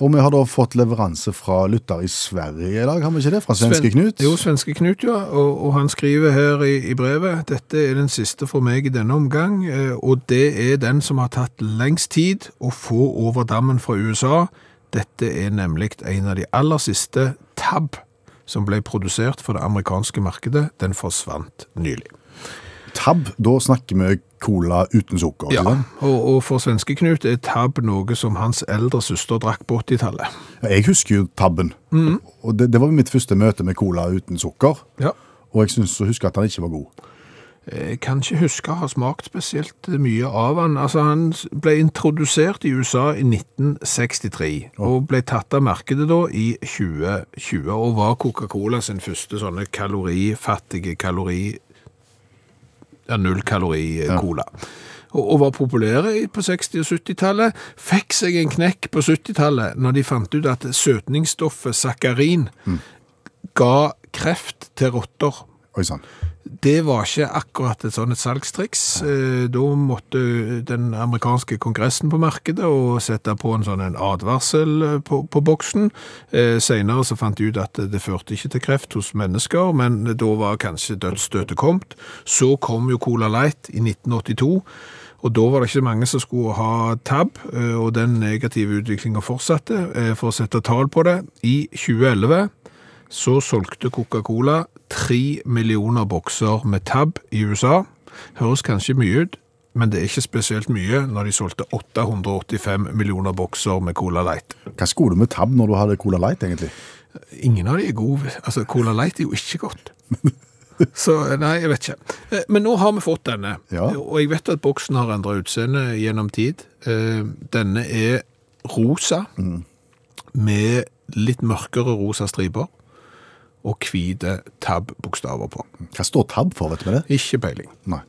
C: Og vi har da fått leveranse fra lytter i Sverige i dag, har vi ikke det? Fra svenske
D: Sven-
C: Knut?
D: Jo, svenske Knut, ja. Og, og han skriver her i, i brevet dette er den siste for meg i denne omgang, eh, og det er den som har tatt lengst tid å få over dammen fra USA. Dette er nemlig en av de aller siste tab som ble produsert for det amerikanske markedet. Den forsvant nylig.
C: Tab, da snakker vi cola uten sukker. ikke
D: Ja,
C: sant?
D: og, og for svenske Knut er tab noe som hans eldre søster drakk på 80-tallet.
C: Jeg husker jo tabben.
D: Mm.
C: Og det, det var mitt første møte med cola uten sukker.
D: Ja.
C: Og jeg syns å huske at han ikke var god.
D: Jeg kan ikke huske å ha smakt spesielt mye av han. Altså, han ble introdusert i USA i 1963, og ble tatt av markedet da i 2020, og var Coca-Cola sin første sånne kalorifattige kalori... Ja, null kalori-cola. Og, og var populære i- på 60- og 70-tallet. Fikk seg en knekk på 70-tallet når de fant ut at søtningsstoffet sakarin ga kreft til rotter.
C: Oi sann.
D: Det var ikke akkurat et sånn et salgstriks. Eh, Da måtte den amerikanske kongressen på markedet og sette på en sånn en advarsel eh, på, på boksen. Eh, senere så fant de ut at det førte ikke til kreft hos mennesker, men da var kanskje dødsstøtet kommet. Så kom jo Cola Light i 1982, og da var det ikke mange som skulle ha tab, eh, og den negative utviklingen fortsatte. Eh, For å sette tall på det, i 2011 så solgte Coca-Cola tre millioner bokser med tab i USA. Høres kanskje mye ut, men det er ikke spesielt mye når de solgte 885 millioner bokser med Cola Light.
C: Hva skulle du med tab når du hadde Cola Light, egentlig?
D: Ingen av de er gode. Altså, Cola Light er jo ikke godt. Så nei, jeg vet ikke. Eh, Men nå har vi fått denne,
C: Ja.
D: og jeg vet at boksen har endret utseende gjennom tid. Eh, Denne er rosa, med litt mørkere rosa striper, og hvite tab-bokstaver på.
H: Hva står tab for, vet du med det?
D: Ikke peiling.
H: Nei.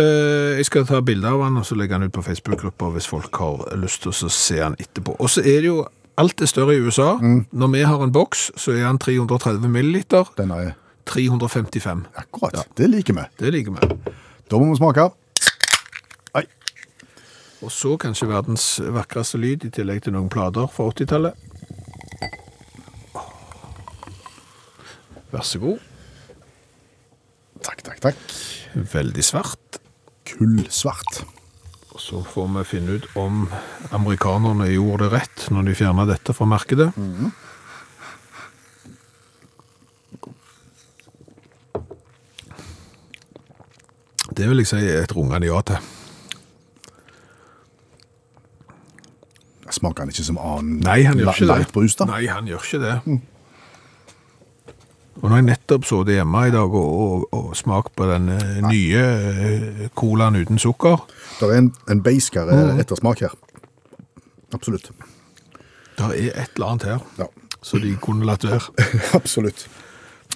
D: Eh, Jeg skal ta bilder av han, og så legge han ut på Facebook-grupper hvis folk har lyst til å se han etterpå. Og så er det jo Alt er større i USA. Når vi har en boks, så er han 330 milliliter.
H: Den er
D: 355.
H: akkurat. Det liker vi.
D: Det liker vi.
H: Da må vi smake. Nei,
D: Og så kanskje verdens vakreste lyd, i tillegg til noen plater fra 80-tallet. Vær så god.
H: takk, takk, takk.
D: Veldig svart.
H: Kullsvart.
D: Og så får vi finne ut om amerikanerne gjorde det rett når de fjerna dette fra markedet. Det vil jeg si er et rungende ja til.
H: Smaker den ikke som annen
D: Nei, han gjør
H: la-
D: ikke det.
H: light brus, da? Mm.
D: Nei, han gjør ikke det. Og når jeg nettopp så det hjemme i dag, og, og, og smak på den eh, nye eh, colaen uten sukker,
H: Det er en, en beiskere
D: Mm.
H: ettersmak her. Absolutt.
D: der er et eller annet her
H: Ja,
D: som de kunne latt være.
H: absolutt.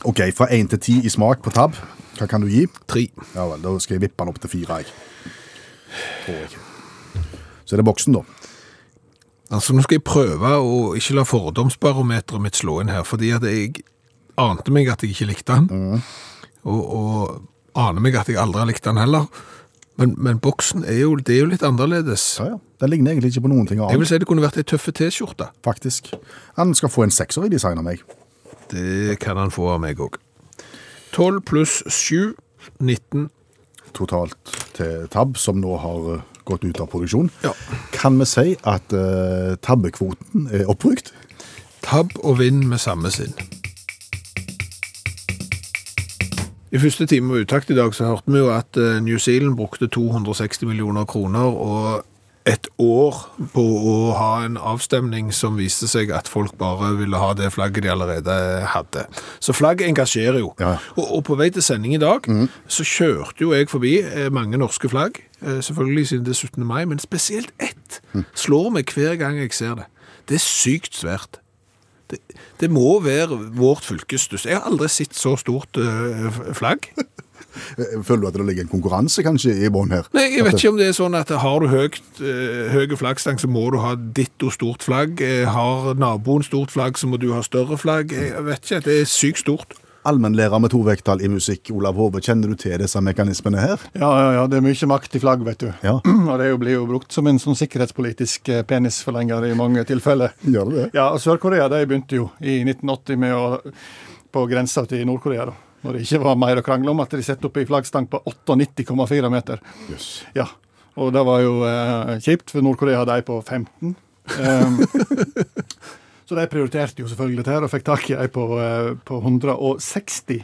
H: OK, fra én til ti i smak på tab. Hva kan du gi?
D: Tre.
H: Ja vel, da skal jeg vippe den opp til fire, jeg. Tror jeg. Så er det boksen, da.
D: Altså, nå skal jeg prøve å ikke la fordomsbarometeret mitt slå inn her, fordi at jeg ante meg at jeg ikke likte den, og, og aner meg at jeg aldri har likt den heller. Men, men boksen er jo, det er jo litt annerledes.
H: Ja, ja. Den ligner egentlig ikke på noen ting
D: Jeg vil
H: annet,
D: si det kunne vært ei tøffe T-skjorte.
H: faktisk. Han skal få en sekser i design av meg.
D: Det kan han få av meg òg. 12 pluss 7, 19.
H: Totalt til Tab, som nå har eh, gått ut av produksjon.
D: Ja.
H: Kan vi si at eh, tabbekvoten er oppbrukt?
D: Tabb og vinn med samme sinn. I første time av Utakt i dag så hørte vi jo at eh, New Zealand brukte 260 millioner kroner og et år på å ha en avstemning som viste seg at folk bare ville ha det flagget de allerede hadde. Så flagg engasjerer jo.
H: Ja.
D: Og, og på vei til sending i dag så kjørte jo jeg forbi eh, mange norske flagg, eh, selvfølgelig siden det er 17. mai, men spesielt ett slår meg hver gang jeg ser det. Det er sykt svært. Det, det må være vårt fylkes største. Jeg har aldri sett så stort eh, f- flagg.
H: Eh, Føler du at det ligger en konkurranse kanskje i bånn her?
D: Nei, Jeg vet ikke om det er sånn at har du høyt, eh, høy flaggstang, så må du ha ditto stort flagg. Eh, Har naboen stort flagg, så må du ha større flagg. Jeg vet ikke, det er sykt stort.
H: Allmennlærer med to vekttall i musikk, Olav Hove, kjenner du til disse mekanismene her?
G: Ja, ja, ja, det er mye makt i flagg, vet du.
H: Ja.
G: Og det er jo- blir jo brukt som en sånn sikkerhetspolitisk eh, penisforlenger i mange tilfeller.
H: Gjør det det?
G: Ja, og Sør-Korea de begynte jo i 1980 med å, på grensa til Nord-Korea. da. Når det ikke var mer å krangle om at de satte opp ei flaggstang på 98,4 meter. Ja, Og det var jo eh, kjipt, for Nord-Korea hadde ei på 15. Ehm, så de prioriterte jo selvfølgelig dette her, og fikk tak i ei på, eh, på 160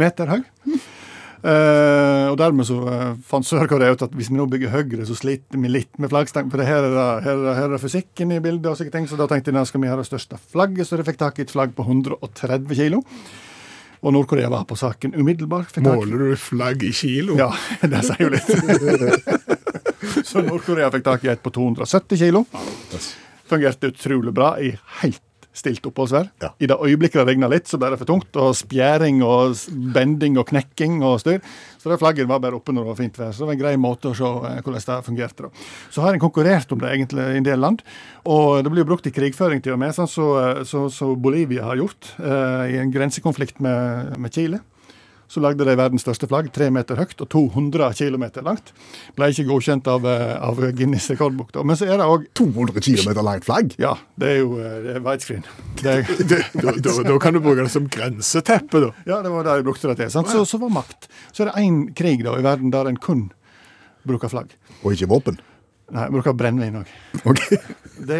G: meter høy. Eh, og dermed så eh, fant Sør-Korea ut at hvis vi nå bygger høyre, så sliter vi litt med flaggstang. For det her er, det- her, er det- her er fysikken i bildet, og slike ting, så da tenkte de da skal vi ha det største flagget. Så de fikk tak i et flagg på 130 kilo. Og Nord-Korea var på saken umiddelbart. fikk tak i-
D: du flagg i kilo?
G: Ja, det sier jo litt. så Nord-Korea fikk tak i et på 270 kilo. Fungerte utrolig bra i helt stilt oppholdsvær.
H: Ja.
G: I det øyeblikket det regna litt, så ble det for tungt. Og spjæring og s- bending og knekking og styr. Så det flagget var bare oppe når det var fint vær. Så det var en grei måte å se eh, hvordan det fungerte. da. Så har en konkurrert om det egentlig i en del land. Og det blir jo brukt i krigføring til og med, sånn som så, så, så Bolivia har gjort eh, i en grensekonflikt med, med Chile. Så lagde de verdens største flagg, tre meter høyt og 200 km langt. Ble ikke godkjent av, eh, av Guinness rekordbok. da. Men så er det òg
H: 200 km langt flagg?
G: Ja, det er jo eh, det er widescreen. Det,
I: Da, da, da kan du bruke det som grenseteppe, da.
G: ja, det var det de brukte det til. sant? Så, så var makt. Så er det én krig da i verden der en kun bruker flagg.
H: Og ikke våpen?
G: Nei, bruker brennevin òg.
H: Ok,
G: Det,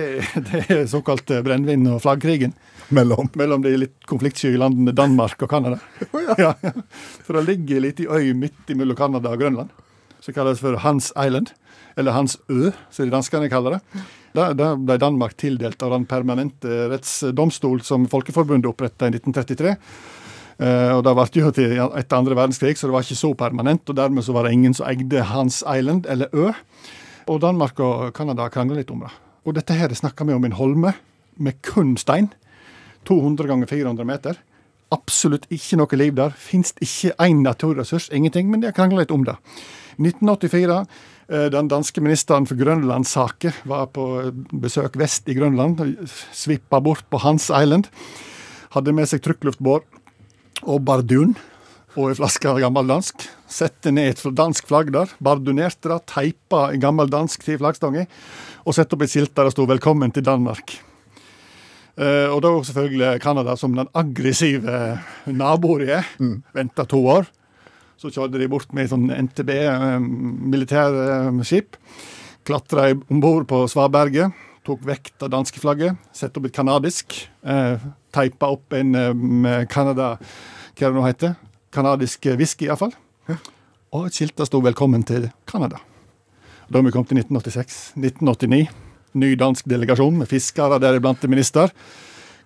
G: det er såkalt eh, brennevin- og flaggkrigen.
H: Mellom
G: mellom de litt konfliktsky landene Danmark og Canada. ja. For det ligger litt i øy midt imellom Canada og Grønland, som kalles for Hans Island. Eller Hans Ø, som de danskene kaller det. Der, der ble Danmark tildelt av den permanente rettsdomstol som Folkeforbundet oppretta i 1933. Eh, og Det ble jo til etter andre verdenskrig, så det var ikke så permanent. og Dermed så var det ingen som eide Hans Island, eller Ø. Og Danmark og Canada krangler litt om det. Og dette her snakka vi om en holme med kun stein. 200 ganger 400 meter. absolutt ikke noe liv der. Fins ikke én naturressurs, ingenting, men de har krangla litt om det. 1984, eh, den danske ministeren for Grønlandssaker var på besøk vest i Grønland. Svippa bort på Hans Island. Hadde med seg trykkluftbår og bardun og ei flaske gammeldansk. Sette ned et dansk flagg der, bardunerte det, teipa gammeldansk til flaggstanga, og sette opp et skilt der det sto 'Velkommen til Danmark'. Eh, og da var selvfølgelig Canada, som den aggressive naboen de er, venta to år. Så kjørte de bort med sånn NTB-militærskip. Klatra om bord på Svaberget, tok vekk det danske flagget, satte opp et kanadisk. Eh, Teipa opp en eh, med Canada Hva er det nå heter? Kanadisk whisky, iallfall. Og et skilt der sto 'Velkommen til Canada'. Da vi kom til 1986. 1989. Ny dansk delegasjon med fiskere, deriblant en minister.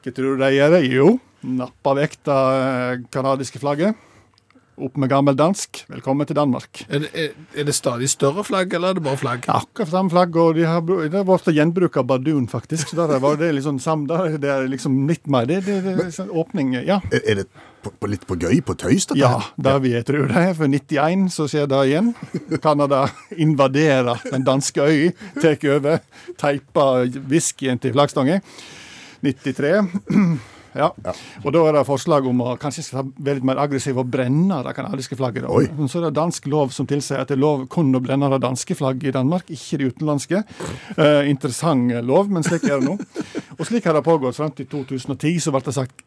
G: Hva tror du de gjør? Jo, nappa vekk det eh, kanadiske flagget. Opp med gammeldansk. Velkommen til Danmark.
D: Er det, er, er det stadig større flagg, eller er det bare flagg?
G: Akkurat samme flagg, og de har, bru- det har vært gjenbruk av bardun, faktisk. Så der var det liksom sam, der, det er liksom litt mer det, det, det, sånn åpning, ja.
C: Er, er det på, på litt på gøy, på tøys, dette?
G: Ja,
C: her?
G: det vil jeg tro det. For 91 så skjer det igjen. Canada invaderer den danske øya, tar over, teiper whiskyen til flaggstanga. 93. Ja. Og da er det forslag om å kanskje skal være litt mer aggressiv og brenne det kanadiske flagget.
C: Oi.
G: Da. Så er det dansk lov som tilsier at det er lov kun å brenne det danske flagget i Danmark, ikke det utenlandske. Eh, interessant lov, men slik er det nå. Og slik har det pågått fram til 2010, så ble det sagt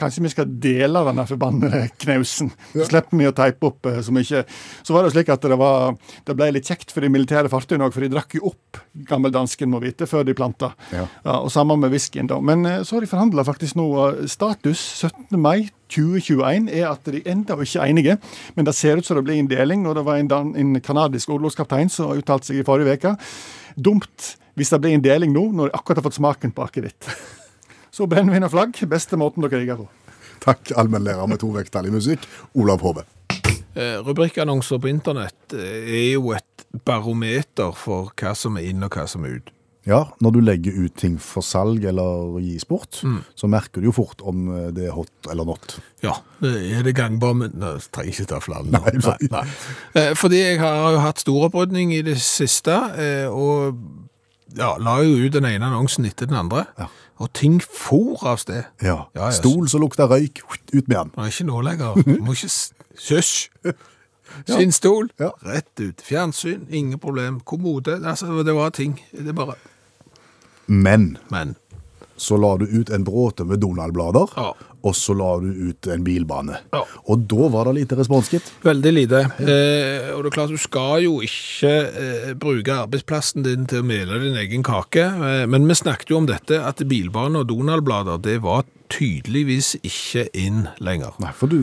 G: Kanskje vi skal dele denne forbannede knausen. Så slipper vi å teipe opp eh, så mye. Så var det slik at det, var, det ble litt kjekt for de militære fartøyene òg, for de drakk jo opp gammeldansken, må vite, før de planta.
C: Ja.
G: og samme med whiskyen, da. Men eh, så har de forhandla faktisk nå. eh, Status 17. mai 2021 er at de ennå ikke er enige, men det ser ut som det blir en deling. Og det var en, dan- en kanadisk orlogskaptein som uttalte seg i forrige uke. Dumt hvis det blir en deling nå, når de akkurat har fått smaken på akevitt. Så brennevin og flagg, beste måten å krige på.
C: Takk, allmennlærer med to vekttall i musikk, Olav Hove.
D: Eh, Rubrikkannonser på internett eh, er jo et barometer for hva som er inn og hva som er ut.
H: Ja, når du legger ut ting for salg eller gis bort, så merker du jo fort om eh, det er hot eller not.
D: Ja, er det gangbar, men Nei, jeg trenger ikke ta flere. nå.
H: Nei, nei.
D: Eh, Fordi jeg har jo hatt stor opprydning i det siste, eh, og ja, la jo ut den ene annonsen etter den andre, og ting for av sted.
H: Ja.
D: Ja, ja.
H: Stol som lukter røyk, ut med den.
D: Det er ikke nå lenger. Du må ikke s- Hysj! Skinnstol,
H: Ja.
D: rett ut. Fjernsyn, ingen problem. Kommode. Altså, det var ting. Det bare
H: Men
D: Men.
H: så la du ut en bråte med Donald-blader,
D: Ja.
H: og så la du ut en bilbane.
D: Ja.
H: Og da var det lite responsgitt.
D: Veldig lite. Eh, og det er klart, du skal jo ikke eh, bruke arbeidsplassen din til å mele din egen kake, eh, men vi snakket jo om dette, at bilbane og Donald-blader, det var tydeligvis ikke inn lenger.
H: Nei, for du,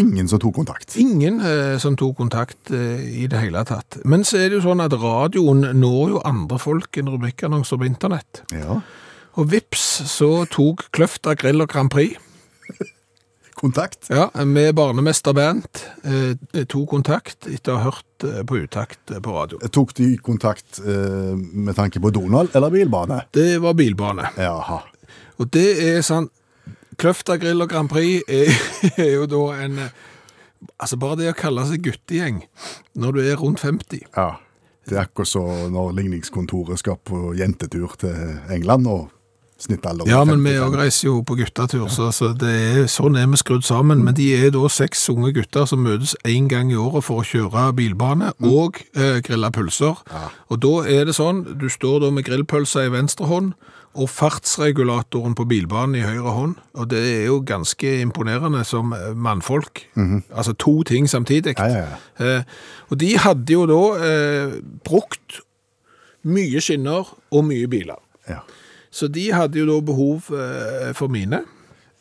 H: ingen som tok kontakt.
D: Ingen eh, som tok kontakt eh, i det hele tatt. Men så er det jo sånn at radioen når jo andre folk enn rubrikkannonser på internett.
H: Ja.
D: Og vips, så tok Kløfta Grill og Grand Prix
H: Kontakt.
D: Ja, med barnemester Bernt eh, tok kontakt etter å ha hørt eh, på utakt eh, på radio.
H: Tok de kontakt eh, med tanke på Donald eller bilbane?
D: Det var bilbane.
H: Jaha.
D: Og det er sånn Kløfta grill og Grand Prix er, er jo da en eh, Altså, bare det å kalle seg guttegjeng når du er rundt 50
H: Ja. Det er akkurat så når ligningskontoret skal på jentetur til England og snittalderen
D: Ja, men vi
H: 55.
D: òg reiser jo på guttetur, så, så det er, sånn er vi skrudd sammen. Men de er da seks unge gutter som møtes én gang i året for å kjøre bilbane
H: Mm.
D: og eh, grille pølser. Og da er det sånn, du står da med grillpølsa i venstre hånd og fartsregulatoren på bilbanen i høyre hånd. Og det er jo ganske imponerende som eh, mannfolk. Altså to ting samtidig.
H: Mhm. Ja, ja,
D: Eh, og de hadde jo da eh, brukt mye skinner og mye biler.
H: Ja.
D: Så de hadde jo da behov eh, for mine.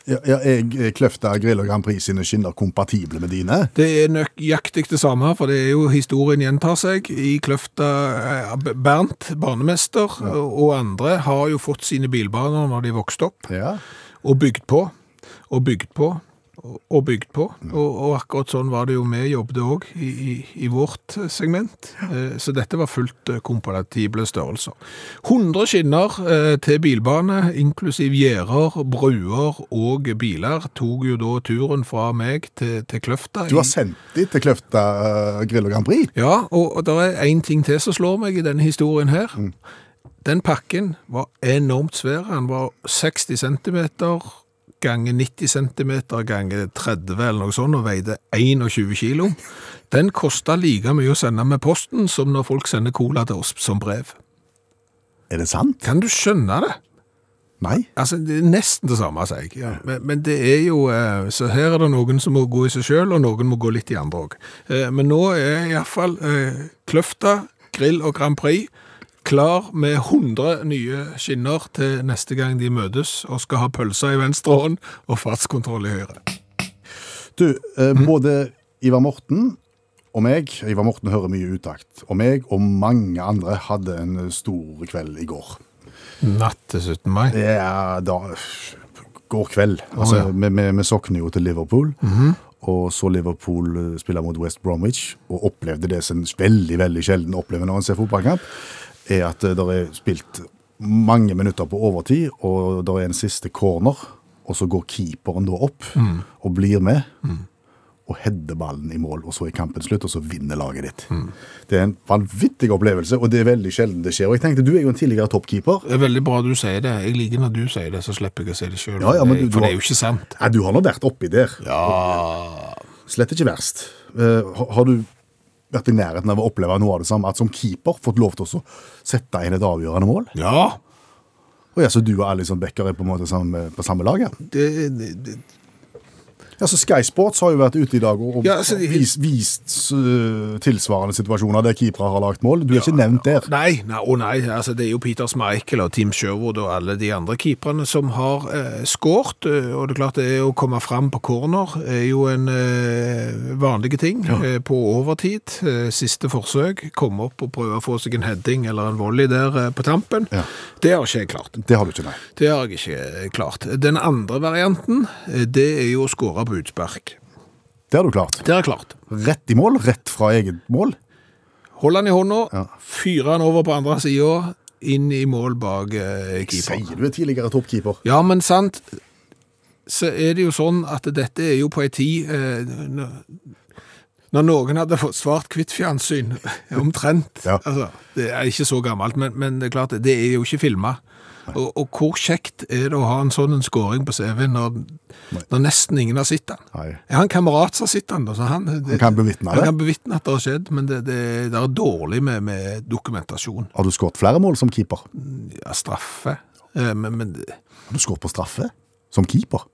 H: Ja, ja, jeg eh, kløfta Grill og Grand Prix sine skinner kompatible med dine.
D: Det er nøyaktig det samme, for det er jo historien gjentar seg. I Kløfta eh, B- Bernt, barnemester, og og andre har jo fått sine bilbaner når de vokste opp,
H: Ja.
D: og bygd på, og bygd på, og- og bygd på.
J: Mm.
D: Og, og akkurat sånn var det jo vi jobbet òg i, i, i vårt segment. Eh, Så dette var fullt eh, kompatible størrelser. 100 skinner eh, til bilbane, inklusiv gjerder, bruer og biler, tok jo da turen fra meg til, til Kløfta.
J: Du har
D: i-
J: sendt dem til Kløfta eh, grill og Grand Prix.
D: ja, og, og det er én ting til som slår meg i denne historien her. Den pakken var enormt svær. Den var 60 cm ganger 90 cm ganger 30 eller noe sånt, og veide 21 kilo. Den kosta like mye å sende med posten som når folk sender cola til oss som brev.
C: Er det sant?
D: Kan du skjønne det?
C: Nei.
D: Altså, det er nesten det samme, sier jeg. Men, men det er jo eh, Så her er det noen som må gå i seg sjøl, og noen må gå litt i andre òg. Men nå er iallfall eh, Kløfta, Grill og Grand Prix klar med 100 nye skinner til neste gang de møtes og skal ha pølser i venstre hånd og fartskontroll i høyre.
C: Du, eh, både Ivar Morten og meg Ivar Morten hører mye utakt. Og meg og mange andre hadde en eh, stor kveld i går.
D: Natt til 17. mai.
C: Det er da går kveld. Altså,
D: ja.
C: vi, vi, vi sokner jo til Liverpool. Og så Liverpool eh, spille mot West Bromwich, og opplevde det som veldig veldig sjelden opplever når en ser fotballkamp, er at det er spilt mange minutter på overtid, og det er en siste corner, og så går keeperen da opp og blir med. Og header ballen i mål, og så er kampen slutt, og så vinner laget ditt. Det er en vanvittig opplevelse, og det er veldig sjelden det skjer. Og jeg tenkte, Du er jo en tidligere toppkeeper.
D: Det er veldig bra du sier det. Jeg liker når du sier det, så slipper jeg å si det sjøl.
C: Ja, ja, men du- du
D: for det
C: har-
D: er jo ikke sant.
C: Nei, du har nå vært oppi der. Slett ikke verst. Eh, har, har du vært i nærheten av å oppleve noe av det samme? At som keeper fått lov til å sette inn et avgjørende mål?
D: Ja,
C: Og ja, Så du og Alison Becker er på en måte sammen, på samme lag? her?
D: det, det, det
C: Ja, så Sky Sports har jo vært ute i dag og, og
D: Ja, altså, de-
C: vis, vist eh, tilsvarende situasjoner der keepere har lagt mål. Du er ikke nevnt der.
D: Nei, nei, å nei, altså det er jo Peter Schmeichel og Team Sherwood og alle de andre keeperne som har eh, skårt, eh, og det er klart det er å komme fram på corner er jo en eh, vanlig ting eh, på overtid. Eh, siste forsøk, komme opp og prøve å få seg en heading eller en volley der eh, på tampen.
C: Ja.
D: Det har ikke jeg klart.
C: Det har du ikke, nei.
D: Det har jeg ikke eh, klart. Den andre varianten, eh, det er jo å skåre på utspark.
C: Det har du klart.
D: Det har jeg klart.
C: Rett i mål, rett fra eget mål.
D: Hold han i hånda,
C: Ja.
D: fyre han over på andre siden, inn i mål bak eh, keeper.
C: Sier du er tidligere toppkeeper?
D: Ja, men sant, så er det jo sånn at dette er jo på ei tid eh, n- Når noen hadde fått svart hvitt fjernsyn, omtrent.
C: Ja.
D: Altså, det er ikke så gammelt, men, men det er klart, det er jo ikke filma. Og, og hvor kjekt er det å ha en sånn en scoring på CV når, når nesten ingen har sett den?
C: Nei.
D: Jeg har en kamerat som har sett den. da, så Han, det-
C: kan bevitne det.
D: Han kan bevitne at det har skjedd, men det, det, det er dårlig med, med dokumentasjon.
C: Har du skåret flere mål som keeper?
D: Ja, straffe. Eh, Men, men
C: Har du skåret på straffe? Som keeper?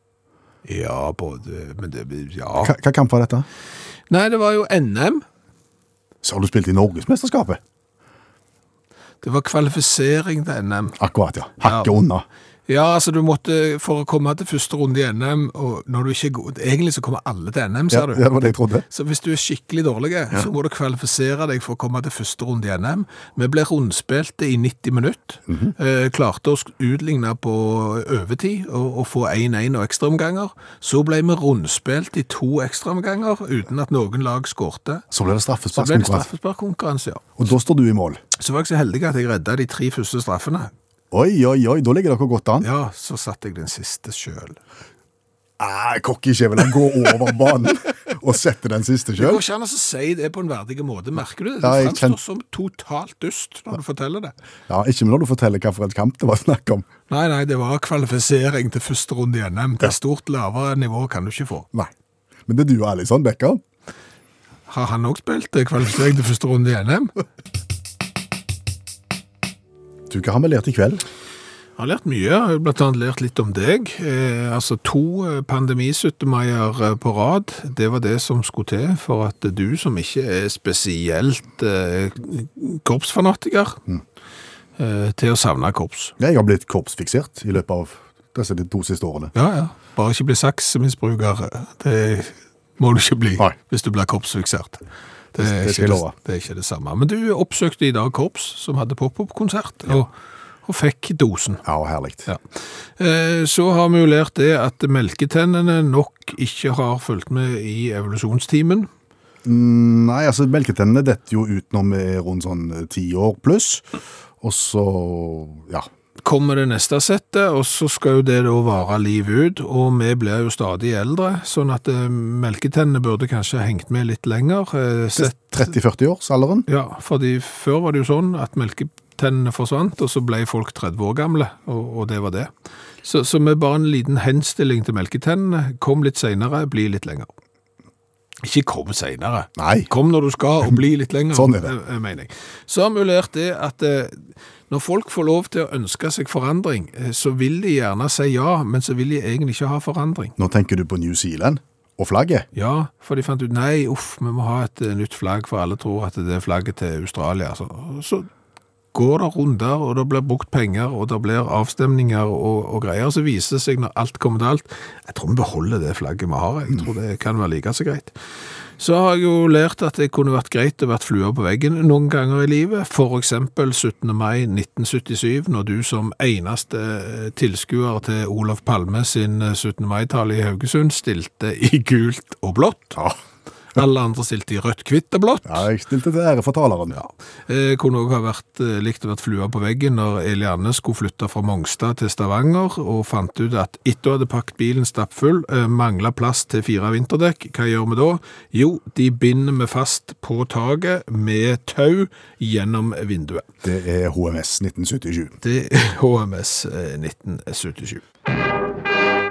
D: Ja, både men det, ja.
C: Hva, hva kamp var dette?
D: Nei, det var jo NM.
C: Så har du spilt i Norgesmesterskapet?
D: Det var kvalifisering til NM.
C: Akkurat, ja. Hakket
D: Ja.
C: unna.
D: Ja, altså du måtte, for å komme til første runde i NM, og når du ikke er god Egentlig så kommer alle til NM,
C: Ja,
D: ser du.
C: det var det jeg trodde.
D: Så hvis du er skikkelig dårlig, så må du kvalifisere deg for å komme til første runde i NM. Vi ble rundspilte i 90 minutter. eh, klarte oss utligna på overtid og, og få 1-1 og ekstraomganger. Så ble vi rundspilt i to ekstraomganger uten at noen lag skårte.
C: Så ble det
D: Så ble
C: straffesparkkonkurranse.
D: det straffesparkkonkurranse, ja.
C: Og da står du i mål.
D: Så var jeg så heldig at jeg redda de tre første straffene.
C: Oi, oi, oi, da ligger dere godt an. Ja.
D: Ja, så satte jeg den siste sjøl.
C: Ah, Kokkeskjevelen går over banen og setter den siste
D: Det går
C: sjøl.
D: ikke an å si det på en verdig måte, merker du det? Du
C: Ja, jeg
D: fremstår
C: kjen-
D: som totalt dust når du forteller det.
C: Ja, ikke når du forteller hva for en kamp det var snakk om.
D: Nei, nei, det var kvalifisering til første runde i NM. Til stort lavere nivå kan du ikke få.
C: Nei. Men det er du og Alison Becker.
D: Har han òg spilt eh, kvalifisering til første runde i NM?
C: Du, hva har vi lært i kveld?
D: Jeg har lært mye. Jeg har blant annet lært litt om deg. Eh, altså To eh, pandemisuttemeier eh, på rad, det var det som skulle til for at du, som ikke er spesielt eh, korpsfanatiker,
C: Mm.
D: eh, til å savne korps.
C: Jeg har blitt korpsfiksert i løpet av disse de to siste årene.
D: Ja, ja. Bare ikke bli saksemisbruker. Det må du ikke bli
C: Nei.
D: hvis du blir korpsfiksert.
C: Det
D: Det er,
C: skal jeg
D: ikke det,
C: love.
D: det er ikke det samme. Men du oppsøkte i dag korps som hadde pop-opp-konsert. Og, og fikk dosen.
H: Ja, herlig.
D: Ja. Eh, Så har vi jo lært det at melketennene nok ikke har fulgt med i evolusjonstimen.
H: Nei, altså melketennene detter jo ut når vi er rundt sånn ti år pluss. Og så, ja.
D: Kommer det neste settet, og så skal jo det da vare livet ut, og vi blir jo stadig eldre, sånn at eh, melketennene burde kanskje ha hengt med litt lenger. eh,
H: til
D: Sett,
H: 30-40 årsalderen.
D: ja, fordi før var det jo sånn at melketennene forsvant, og så ble folk 30 år gamle, og, og det var det. Så, så med bare en liten henstilling til melketennene, kom litt senere, bli litt lenger. Ikke kom senere.
H: Nei.
D: Kom når du skal, og bli litt lenger.
H: Sånn er det.
D: eh, eh, Mener jeg. Så har vi jo lært det at eh, når folk får lov til å ønske seg forandring, eh, så vil de gjerne si ja, men så vil de egentlig ikke ha forandring.
H: Nå tenker du på New Zealand og flagget.
D: Ja, for de fant ut nei, uff, vi må ha et eh, nytt flagg, for alle tror at det er flagget til Australia. Så, så går det runder, og det blir brukt penger, og det blir avstemninger og, og greier. Så viser det seg når alt kommer til alt Jeg tror vi beholder det flagget vi har. Jeg tror det kan være like så greit. Så har jeg jo lært at det kunne vært greit å vært flua på veggen noen ganger i livet. For eksempel 17. mai 1977, når du som eneste eh, tilskuer til Olof Palme sin eh, 17. mai-tale i Haugesund stilte i gult og blått. Alle andre stilte i rødt, hvitt og blått.
H: Ja, jeg stilte til ære for taleren.
D: Eh, kunne også ha vært, eh, likt å vært flua på veggen når Eliane skulle flytte fra Mongstad til Stavanger, og fant ut at etter hun hadde pakket bilen stappfull, eh, manglet plass til fire vinterdekk. Hva gjør vi da? Jo, de binder vi fast på taget med tau gjennom vinduet.
H: Det er HMS 1977.
D: Det er HMS eh, 1977.